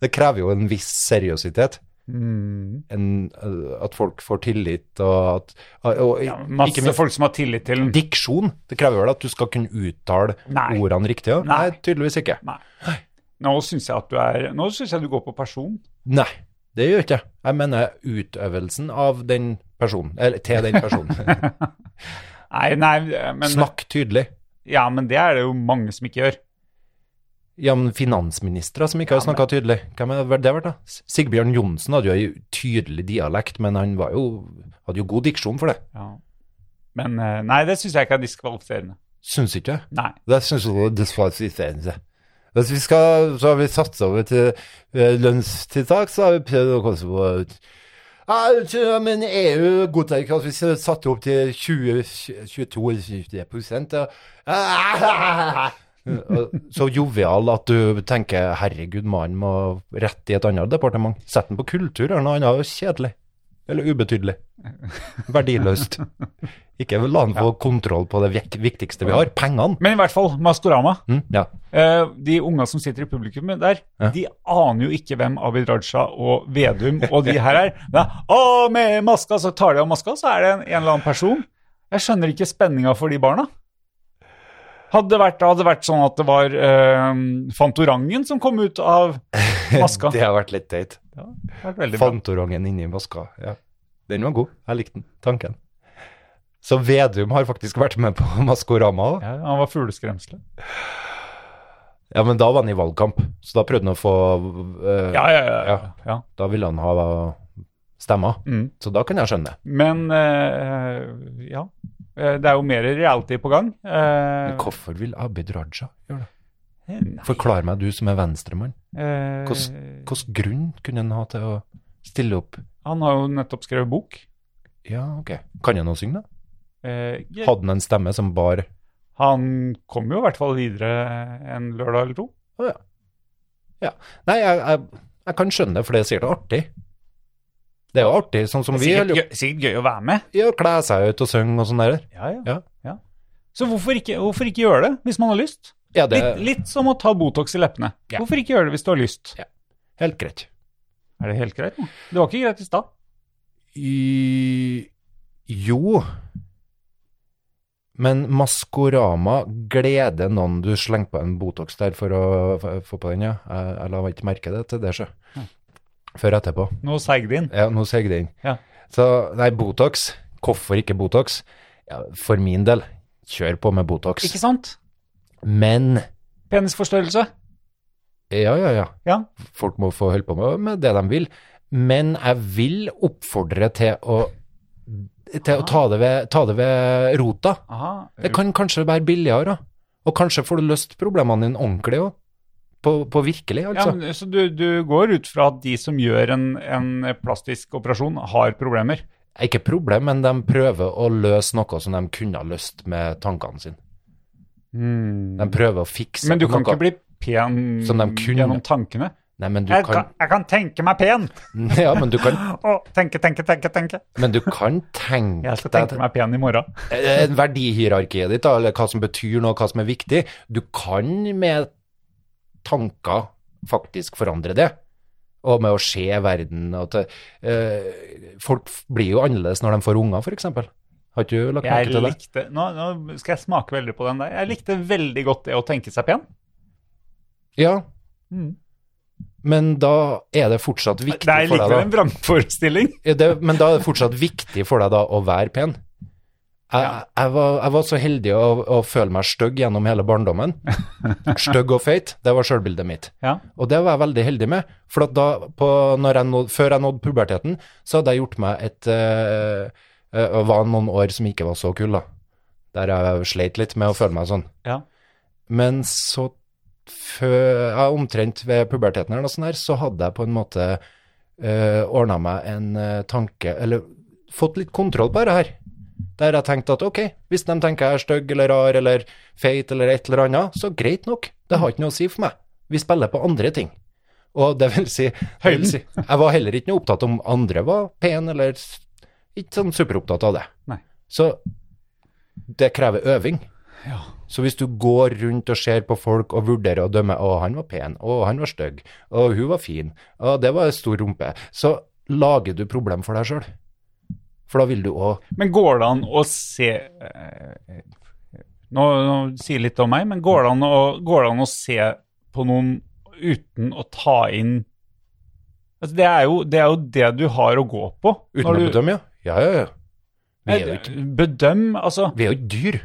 det krever jo en viss seriøsitet.
Mm.
En, øh, at folk får tillit, og at og, og,
Masse
ikke minst
folk som har tillit til den.
diksjon. Det krever vel at du skal kunne uttale
Mm. Nei.
ordene riktig? ja?
Nei.
Nei, tydeligvis ikke.
Nei. Nå syns jeg at du er Nå synes jeg du går på person.
Nei, det gjør ikke jeg. Jeg mener utøvelsen av den personen, eller til den personen.
Nei, nei, men
Snakk tydelig.
Ja, men det er det jo mange som ikke gjør.
Ja, men finansministre som ikke har snakka tydelig. Hvem er det- det vært, da? S- Sigbjørn Johnsen hadde jo ei tydelig dialekt, men han var jo, hadde jo god diksjon for det.
Ja. Men eh, nei, det syns jeg ikke er diskvalifiserende.
Syns ikke jeg.
Nei.
Det syns jeg er diskvalifiserende. Hvis vi skal, så har vi satt over til eh, lønnstiltak, så har vi prøvd å komme oss på ja, så- men EU godtar ikke at vi skal satte opp til 22-23 Så jovial at du tenker 'herregud, mannen må rett i et annet departement'. Sett den på kultur eller noe annet kjedelig. Eller ubetydelig. Verdiløst. Ikke la han få kontroll på det vik- viktigste vi har, pengene.
Men i hvert fall, Maskorama.
Mm, ja.
Eh, de unga som sitter i publikummet der, de aner jo ikke hvem Abid Raja og Vedum og de her er. Men, å, med maska, så tar de av maska, så er det en, en eller annen person. Jeg skjønner ikke spenninga for de barna. Hadde det vært, hadde det vært sånn at det var eh, Fantorangen som kom ut av maska
Det
Det
har vært litt teit.
hadde vært veldig bra.
Fantorangen inni maska. Ja. Den var god. Jeg likte den. Tanken. Så Vedum har faktisk vært med på Maskorama òg. Ja.
Ja, han var fugleskremselet.
men da var han i valgkamp, så da prøvde han å få eh,
Ja, ja, ja. ja. ja.
Da ville han ha stemmer.
Mm.
Så da kan jeg skjønne.
Men eh, ja. Eh, Det er jo mer reality på gang. Eh,
Men hvorfor vil Abid Raja gjøre det?
nei,
Forklar meg, du som er venstremann.
eh,
Hvilken grunn kunne han ha til å stille opp?
Han har jo nettopp skrevet bok.
Ja, ok. Kan han å synge, da?
Eh, jeg-
Hadde han en stemme som bar
han kom jo i hvert fall videre en lørdag eller to.
Å ja. ja. Nei, jeg, jeg, jeg kan skjønne det, for det er sikkert artig. Det er jo artig, sånn som vi holder jo-
gøy, sikkert gøy å være med.
ja, kle seg ut og synge og sånn der.
Ja, ja.
Ja.
ja. Så hvorfor ikke, hvorfor ikke gjøre det hvis man har lyst?
Ja, det
Litt,
er
litt som å ta Botox i leppene.
Ja.
Hvorfor ikke gjøre det hvis du har lyst?
Ja. helt greit.
Er det helt greit? nå? Det var ikke greit i stad.
I, jo Men Maskorama gleder noen du slenger på en Botox der for å f- få på den, ja. Jeg, jeg la ikke merke det til det, sjø. Før etterpå.
Nå seig det inn.
Ja, nå ser jeg den.
Ja.
Så, nei, Botox. Hvorfor ikke Botox? Ja, for min del, kjør på med Botox.
Ikke sant?
Men,
Penisforstørrelse.
ja, ja, ja.
Ja.
Folk må få holde på med, med det de vil. Men jeg vil oppfordre til å til å ta det ved, ta det ved rota.
Aha.
Det kan kanskje være billigere, da. og kanskje får du løst problemene dine ordentlig òg. På, på virkelig,
Ja,
altså.
men, så du, du går ut fra at de som gjør en, en plastisk operasjon, har problemer?
Ikke problem, men de prøver å løse noe som de kunne ha løst med tankene sine.
Hmm.
De prøver å fikse
Men du kan
noe.
ikke bli pen
Som de kunne.
gjennom tankene?
Nei, men du
Jeg
kan,
kan, jeg kan tenke meg pen!
ja, men du kan,
Å, tenke, tenke, tenke, tenke.
men du kan tenke
Jeg skal tenke meg pen i morgen.
Eh, verdihierarkiet ditt, da, eller hva som betyr noe, hva som er viktig. Du kan med tanker faktisk forandre det, og med å se verden. Og til, eh, folk f- blir jo annerledes når de får unger, f.eks. Har ikke du lagt
Jeg
merke til det?
likte, nå, nå skal jeg smake veldig på den der. Jeg likte veldig godt det å tenke seg pen.
Ja,
Mm.
men da er det fortsatt viktig
Det er
for
likevel
deg,
en vrangforestilling.
da. Er Det, men da er det fortsatt viktig for deg da å være pen. Jeg,
Ja.
jeg, var, jeg var så heldig å, å føle meg stygg gjennom hele barndommen. Stygg og feit, det var sjølbildet mitt.
Ja.
Og det var jeg veldig heldig med, for at da, på, når jeg nådde, før jeg nådde puberteten, så hadde jeg gjort meg et eh, eh, var noen år som ikke var så kul, da. Der jeg sleit litt med å føle meg sånn.
Ja.
Men så før ja, omtrent ved puberteten eller noe sånt her, så hadde jeg på en måte uh, ordna meg en eh, tanke, eller fått litt kontroll på det her. Der jeg tenkte at ok, hvis de tenker jeg er stygg eller rar eller feit eller et eller annet, så greit nok, det har ikke noe å si for meg. Vi spiller på andre ting. Og det vil si, det vil si Jeg var heller ikke noe opptatt om andre var pen eller s- ikke sånn superopptatt av det.
Nei.
Så det krever øving.
Ja.
Så hvis du går rundt og ser på folk og vurderer og dømmer Å, han var pen. Å, han var stygg. Å, hun var fin. Å, det var en stor rumpe. Så lager du problem for deg sjøl. For da vil du òg
Men går det an å se eh, nå, nå sier jeg litt om meg, men går det, an å, går det an å se på noen uten å ta inn altså det, er jo, det er jo det du har å gå på.
Uten
når
å
du-
bedømme, ja. Ja, ja, ja. Vi er jo ikke,
Bedøm, altså
vi er jo ikke dyr.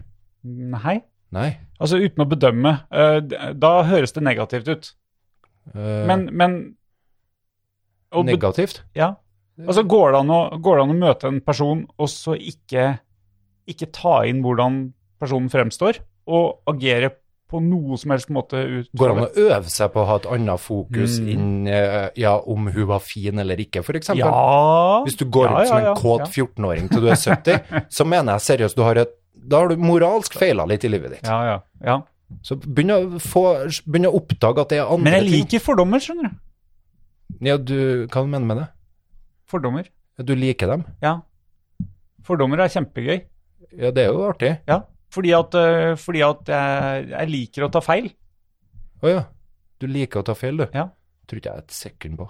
Nei.
Nei.
Altså uten å bedømme. eh, d- Da høres det negativt ut.
Eh,
Men, men å be-
negativt.
Ja. Altså, går det, an å, går det an å møte en person og så ikke, ikke ta inn hvordan personen fremstår, og agere på noe som helst måte ut
Går det an å øve seg på å ha et annet fokus
Mm.
inn eh, ja, om hun var fin eller ikke, f.eks.?
Ja
Hvis du går
Ja,
ut som
ja, ja,
en kåt
ja.
14-åring til du er 70, så mener jeg seriøst du har et da har du moralsk feila litt i livet ditt.
Ja, ja, ja.
Så begynn å, få, begynn å oppdage at det er
Men
andre
jeg liker fordommer, skjønner du.
ting. Ja, du, hva mener du med det?
Fordommer.
Ja, Du liker dem?
Ja. Fordommer er kjempegøy.
Ja, det er jo artig.
Ja. Fordi at, øh, fordi at jeg, jeg liker å ta feil.
Å ja. Du liker å ta feil, du.
Ja.
Tror ikke jeg et sekund på.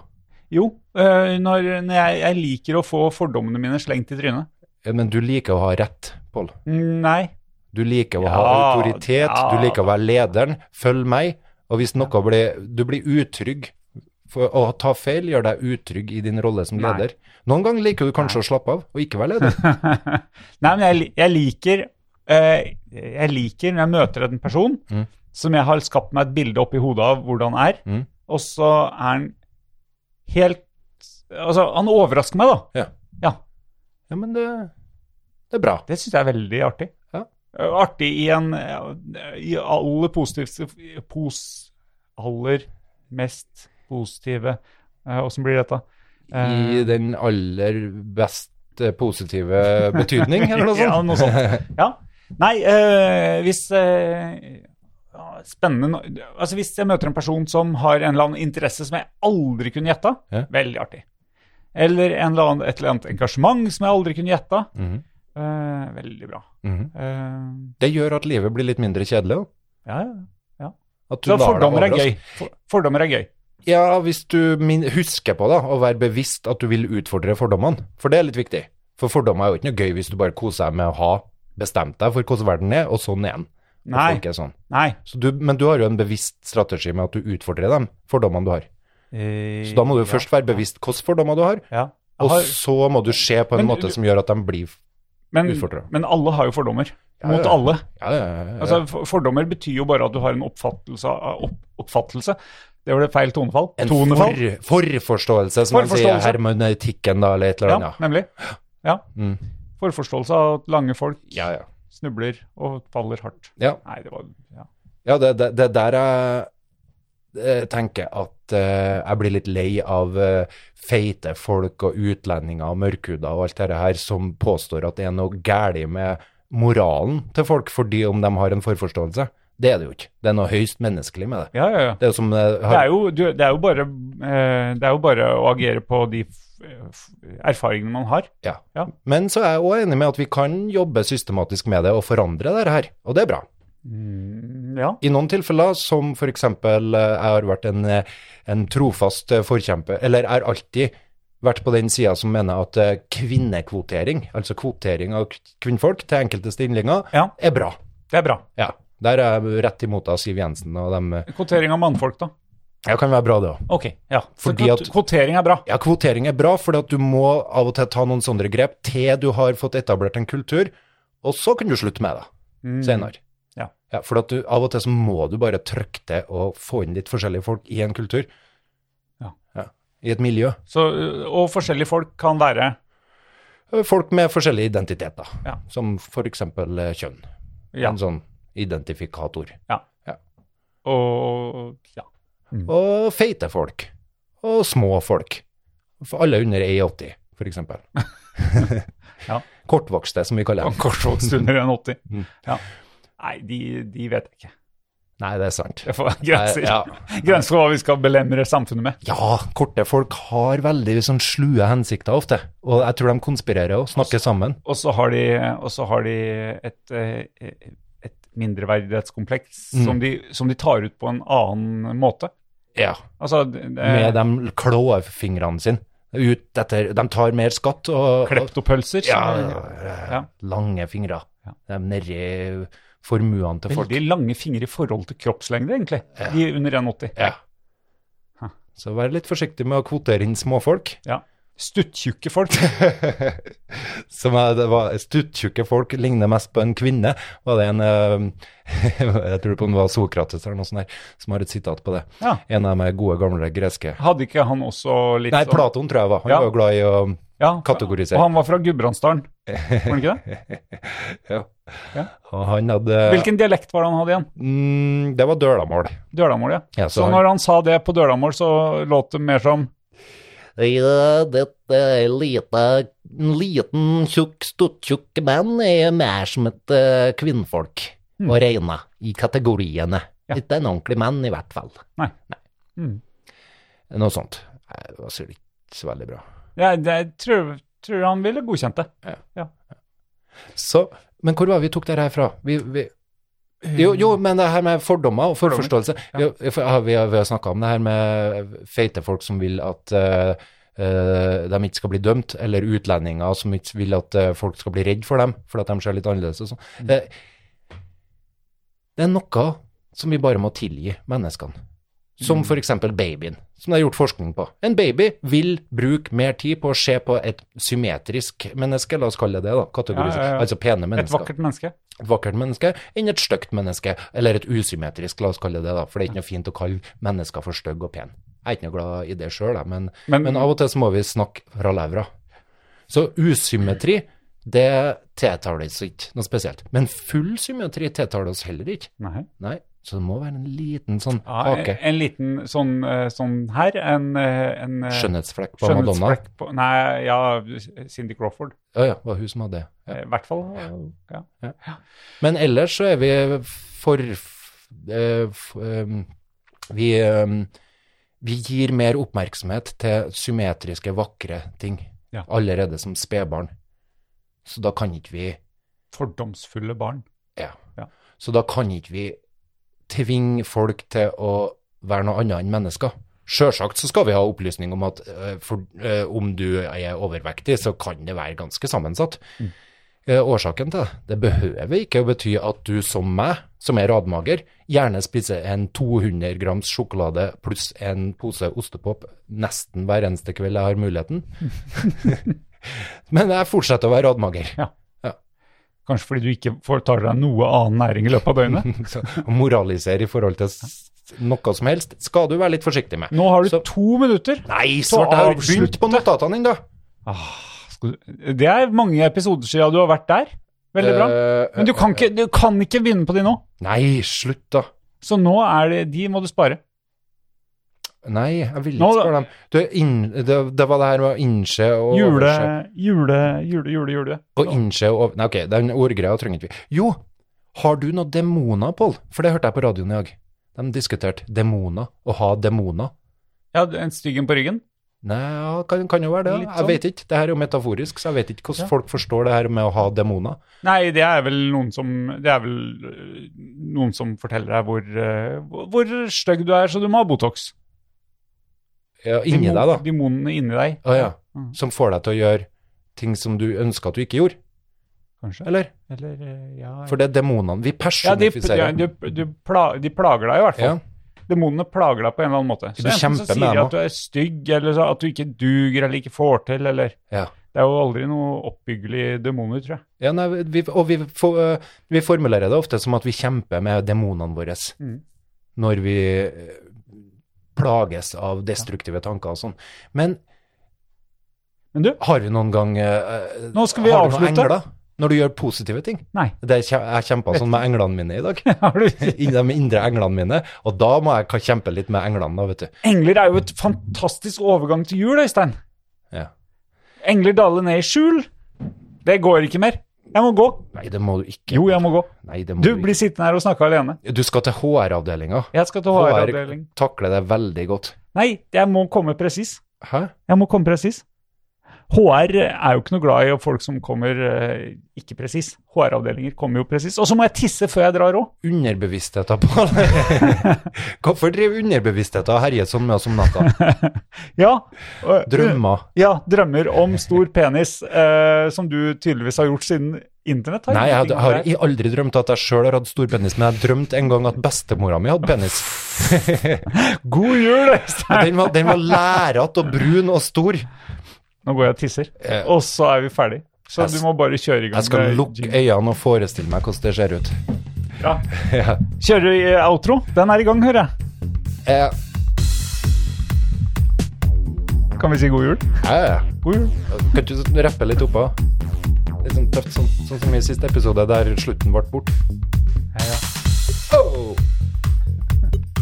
Jo, øh, når, når jeg, jeg liker å få fordommene mine slengt i trynet.
Ja, Men du liker å ha rett, Pål.
Nei.
Du liker å ha
Ja,
autoritet,
ja.
du liker å være lederen. Følg meg. Og hvis noe blir Du blir utrygg. For å ta feil gjør deg utrygg i din rolle som
Nei.
leder. Noen ganger liker du kanskje å slappe av og ikke være leder.
Nei, men jeg, li- jeg liker eh, Jeg liker når jeg møter en person
Mm.
som jeg har skapt meg et bilde oppi hodet av hvordan er,
Mm.
og så er han helt Altså, han overrasker meg, da.
Ja,
Ja,
ja men det, det er bra.
det syns jeg er veldig artig.
Ja.
Eh, Artig i en eh, I aller positivste pos, Aller mest positive Åssen blir dette? Eh,
I den aller best eh, positive betydning, eller noe sånt.
Ja, noe sånt. Ja. Nei, eh, hvis eh, ja, Spennende no- Altså, hvis jeg møter en person som har en eller annen interesse som jeg aldri kunne gjetta,
Ja.
veldig artig. Eller en eller annen, et eller annet engasjement som jeg aldri kunne gjetta,
Mhm,
eh, veldig bra.
mhm.
Eh,
Det gjør at livet blir litt mindre kjedelig. også.
ja, ja.
At du
Så
lar deg
fordommer er
overraske.
gøy. For, fordommer er gøy.
Ja, hvis du min, husker på da, å være bevisst at du vil utfordre fordommene, for det er litt viktig. For fordommer er jo ikke noe gøy hvis du bare koser deg med å ha bestemt deg for hvordan verden er, og sånn er den. Og
Nei.
folk er Sånn.
Nei.
Så du, men du har jo en bevisst strategi med at du utfordrer dem, fordommene du har. Så da må du
ja.
først være bevisst hvilke fordommer du har,
Eh, ja. Jeg
og
har-
så må du se på en
Men du-
måte som gjør at de blir
men,
utfordret.
men alle har jo fordommer.
Ja,
mot
ja.
alle.
Ja, ja, ja, ja.
Altså, for- fordommer betyr jo bare at du har en oppfattelse av opp, Oppfattelse? Det var det feil tonefall.
en
tonefall.
for, forforståelse, som man sier
Forforståelse.
hermeneutikken, da, eller et eller
ja,
annet.
nemlig. Ja.
Mm.
Forforståelse av at lange folk
Ja, ja.
snubler og faller hardt.
Ja.
Nei, det var ja.
Ja, det, det, det der jeg eh, tenker at eh, jeg blir litt lei av eh, feite folk og utlendinger og mørkhuda og alt det her som påstår at det er noe galt med moralen til folk fordi om de har en forforståelse. Det er det jo ikke. Det er noe høyst menneskelig med det.
Ja, ja, ja.
Det er jo som eh,
Det
har,
er jo, du, det er jo bare eh, Det er jo bare å agere på de f- f- erfaringene man har.
ja.
Ja.
Men så er jeg òg enig med at vi kan jobbe systematisk med det og forandre det her, og det er bra.
Mm, Ja.
I noen tilfeller, som for eksempel eh, jeg har vært en, eh, en trofast eh, forkjemper, eller er alltid vært på den sida som mener at eh, kvinnekvotering, altså kvotering av k- kvinnfolk til enkelte stillinger,
Ja.
er bra.
Det er bra.
Ja. Der er jeg rett imot av Siv Jensen og dem. eh.
Kvotering av mannfolk, da.
Ja, kan være bra det òg.
Ok, ja. Så
Fordi
kvot-
at-
kvotering er bra.
Ja, kvotering er bra, fordi at du må av og til ta noen sånne grep til du har fått etablert en kultur, og så kan du slutte med det
Mm.
senere.
Ja.
Ja, for at du, av og til så må du bare trykke til og få inn litt forskjellige folk i en kultur.
Ja.
I et miljø.
Så, og forskjellige folk kan være
Eh, Folk med forskjellige identiteter,
Ja.
som for eksempel eh, kjønn.
Ja.
En sånn identifikator.
Og ja. Mm.
Og feite folk. Og små folk. For alle under 1,80, for eksempel.
Ja.
Kortvokste, som vi kaller dem.
Kortvokst under 1,80.
Mm.
Ja. Nei, de, de vet jeg ikke.
Nei, det er sant.
Det får være grenser.
Nei, ja.
Grenser for hva vi skal belemre samfunnet med.
Ja, korte folk har veldig sånn slue hensikter ofte, og jeg tror de konspirerer og snakker sammen.
Og så har de, og så har de et, eh, et mindreverdighetskompleks
Mm.
som, de, som de tar ut på en annen måte.
Ja. Eh.
Altså, det,
Med de klåfingrene sine. Ut etter, de tar mer skatt og, og
kleptopølser.
ja,
Ja.
lange fingre.
Ja.
De nedi formuene til folk.
Veldig lange fingre i forhold til kroppslengde, egentlig.
Ja.
De under 1,80.
Ja.
Hæ.
Så vær litt forsiktig med å kvotere inn småfolk.
Ja. Stuttjukke folk.
Som er, det var Stuttjukke folk ligner mest på en kvinne, var det en eh, Jeg tror det var Sokrates eller noe sånt der, som har et sitat på det.
Ja.
En av de gode, gamle greske
Hadde ikke han også litt
Nei,
sånn-
Platon tror jeg var. Han
Ja.
var jo glad i å
ja,
kategorisere.
Og han var fra Gudbrandsdalen, var han ikke det?
ja.
Ja.
Og han hadde
Hvilken dialekt var det han hadde igjen?
Mm, det var dølamål.
Dølamål, ja.
Ja, så
så
han-
når han sa det på dølamål, så låt det mer som
Ja, dette lite, en liten, tjukk, stuttjukk mann er mer som et eh, kvinnfolk å regne i kategoriene.
Ja.
Ikke en ordentlig mann, i hvert fall.
Noe sånt. Nei, det var sikkert ikke så veldig bra.
ja, det, Jeg tror, tror han ville godkjent det.
Så, men hvor var vi tok det her fra? Vi, vi, jo, jo,
Eh.
men det her med fordommer og forforståelse Vi, for, ja, vi, har- vi har snakka om det her med feite folk som vil at eh, eh, de ikke skal bli dømt, eller utlendinger som ikke vil at eh, folk skal bli redd for dem fordi at de ser litt annerledes og sånn.
Mm.
Eh, det er noe som vi bare må tilgi menneskene.
Mm.
Som for f.eks. babyen, som det er gjort forskning på. En baby vil bruke mer tid på å se på et symmetrisk menneske, la oss kalle det det, da, kategorisk,
Ja, ja, ja.
altså pene
Et
mennesker
vakkert menneske.
et vakkert menneske enn et stygt menneske, eller et usymmetrisk, la oss kalle det det, da, for det er ikke noe fint å kalle mennesker for stygge og pene. Jeg er ikke noe glad i det sjøl, men,
Men-
men, av og til så må vi snakke fra levra. Så usymmetri, det tiltaler oss ikke noe spesielt. Men full symmetri tiltaler oss heller ikke.
Nei.
Nei, så det må være en liten sånn
Ja, en,
hake.
en liten sånn, eh, sånn her en, eh, en eh,
Skjønnhetsflekk på Madonna.
skjønnhetsflekk på Nei, ja, Cindy Crawford. Eh,
Ja, ja, det var hun som hadde det. Ja.
I hvert fall. Ja.
Men ellers så er vi for eh, f- ehm, vi, ehm, vi gir mer oppmerksomhet til symmetriske, vakre ting
Ja.
allerede som spedbarn. Så da kan ikke vi
Fordomsfulle barn.
ja.
Ja.
Så da kan ikke vi tvinge folk til å være noe annet enn mennesker. Sjølsagt så skal vi ha opplysning om at eh, for, eh, om du er overvektig, så kan det være ganske sammensatt. Eh, årsaken til det, det behøver ikke å bety at du som meg, som er radmager, gjerne spiser en 200 grams sjokolade pluss en pose ostepop nesten hver eneste kveld jeg har muligheten. Men jeg fortsetter å være radmager.
Kanskje fordi du ikke får tar deg noe annen næring i løpet av døgnet.
Så å moralisere i forhold til s- noe som helst, skal du være litt forsiktig med.
Nå har du
Så-
to minutter.
Nei,
Så
svart, jeg har jo
avslutt
begynt på notatene ennå.
Ah, Skal du- Det er mange episoder siden du har vært der. Veldig bra.
Eh,
Men du kan ikke, du kan ikke begynne på de nå.
Nei, slutt, da.
Så nå er det, de må du spare.
Nei, jeg vil ikke
Nå, da.
spørre dem. Du, inn, det, det var det her med å innse og
Jule,
overse.
jule, jule, jule, jule.
Og innse og over... Nei, ok, den ordgreia trenger ikke vi. Jo, har du noen demoner, Pål? For det hørte jeg på radioen i dag. De diskuterte demoner, å ha demoner.
Ja, en styggen på ryggen.
Nei, ja, kan, kan jo være det.
Litt
Jeg
sånn.
vet ikke. Det her er jo metaforisk, så jeg vet ikke hvordan
Ja.
folk forstår det her med å ha demoner.
Nei, det er vel noen som, det er vel øh, noen som forteller deg hvor, øh, hvor- hvor stygg du er, så du må ha Botox.
Ja, inni
Demon-
deg, da.
Demonene inni deg,
Å ja.
Mm.
Som får deg til å gjøre ting som du ønsker at du ikke gjorde,
kanskje.
eller?
Eller, øh, ja.
For det er demonene vi
ja, de, ja,
personifiserer.
de, de, pla, de plager deg i hvert fall.
Ja.
Demonene plager deg på en eller annen måte.
Du
Så enten så
kjemper med
sier de
dem,
at du er stygg, eller så, at du ikke duger, eller ikke får til, eller...
Ja.
Det er jo aldri noe oppbyggelig demoner, tror jeg.
Ja, nei, vi, og vi, for, vi formulerer det ofte som at vi kjemper med demonene våre
Mm.
når vi eh, plages av destruktive tanker og sånn. Men
Men du,
har vi noen gang eh,
Nå skal vi
har du noen
avslutte.
engler når du gjør positive ting?
Nei.
Det, er kje- jeg kjempa sånn med englene mine i dag.
har du...
I de indre englene mine. Og da må jeg ka- kjempe litt med englene, da, vet du.
Engler er jo et fantastisk overgang til jul, Øystein.
Ja.
Engler daler ned i skjul. Det går ikke mer. Jeg må gå.
Nei, det må du ikke.
Jo, jeg må gå.
Nei, det må
Du
du,
blir sittende her og snakke alene.
ikke. du skal til HR-avdelinga.
Jeg skal til HR-avdeling.
takler det veldig godt.
Nei, jeg må komme presis.
Hæ?
Jeg må komme presis. HR er jo ikke noe glad i folk som kommer eh, ikke presis. HR-avdelinger kommer jo presis. Og så må jeg tisse før jeg drar òg.
underbevisstheten på Hvorfor driver underbevisstheten og herjer sånn med oss om natta?
Ja. og- eh,
Drømmer.
Ja, drømmer om stor penis, eh, som du tydeligvis har gjort siden internett. har
Nei, jeg
ingenting
hadde- har
med det.
i- aldri drømt at jeg sjøl har hatt stor penis, men jeg drømte en gang at bestemora mi hadde penis.
God jul, Øystein!
Og den var, den var lærete og brun og stor. Jeg
Nå går jeg og tisser,
Eh,
og så er vi ferdig. Så
jeg
du
s-
må bare kjøre i gang.
skal
med
lukke
jingle.
øynene og forestille meg hvordan det ser ut.
Ja.
Ja.
Kjører i eh, outro? Den er i gang, hører jeg.
Eh,
Kan vi si god jul?
eh,
God jul.
Kan du rappe litt oppå? Litt sånn tøft, sånn, sånn som i siste episode, der slutten ble bort.
Ja, ja.
Oh!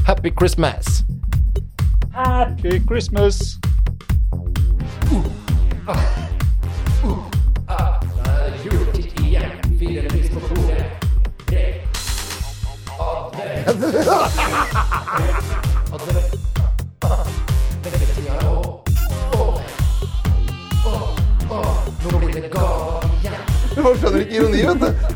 Happy Christmas!
Happy Christmas!
Folk skjønner ikke ironi, vet du.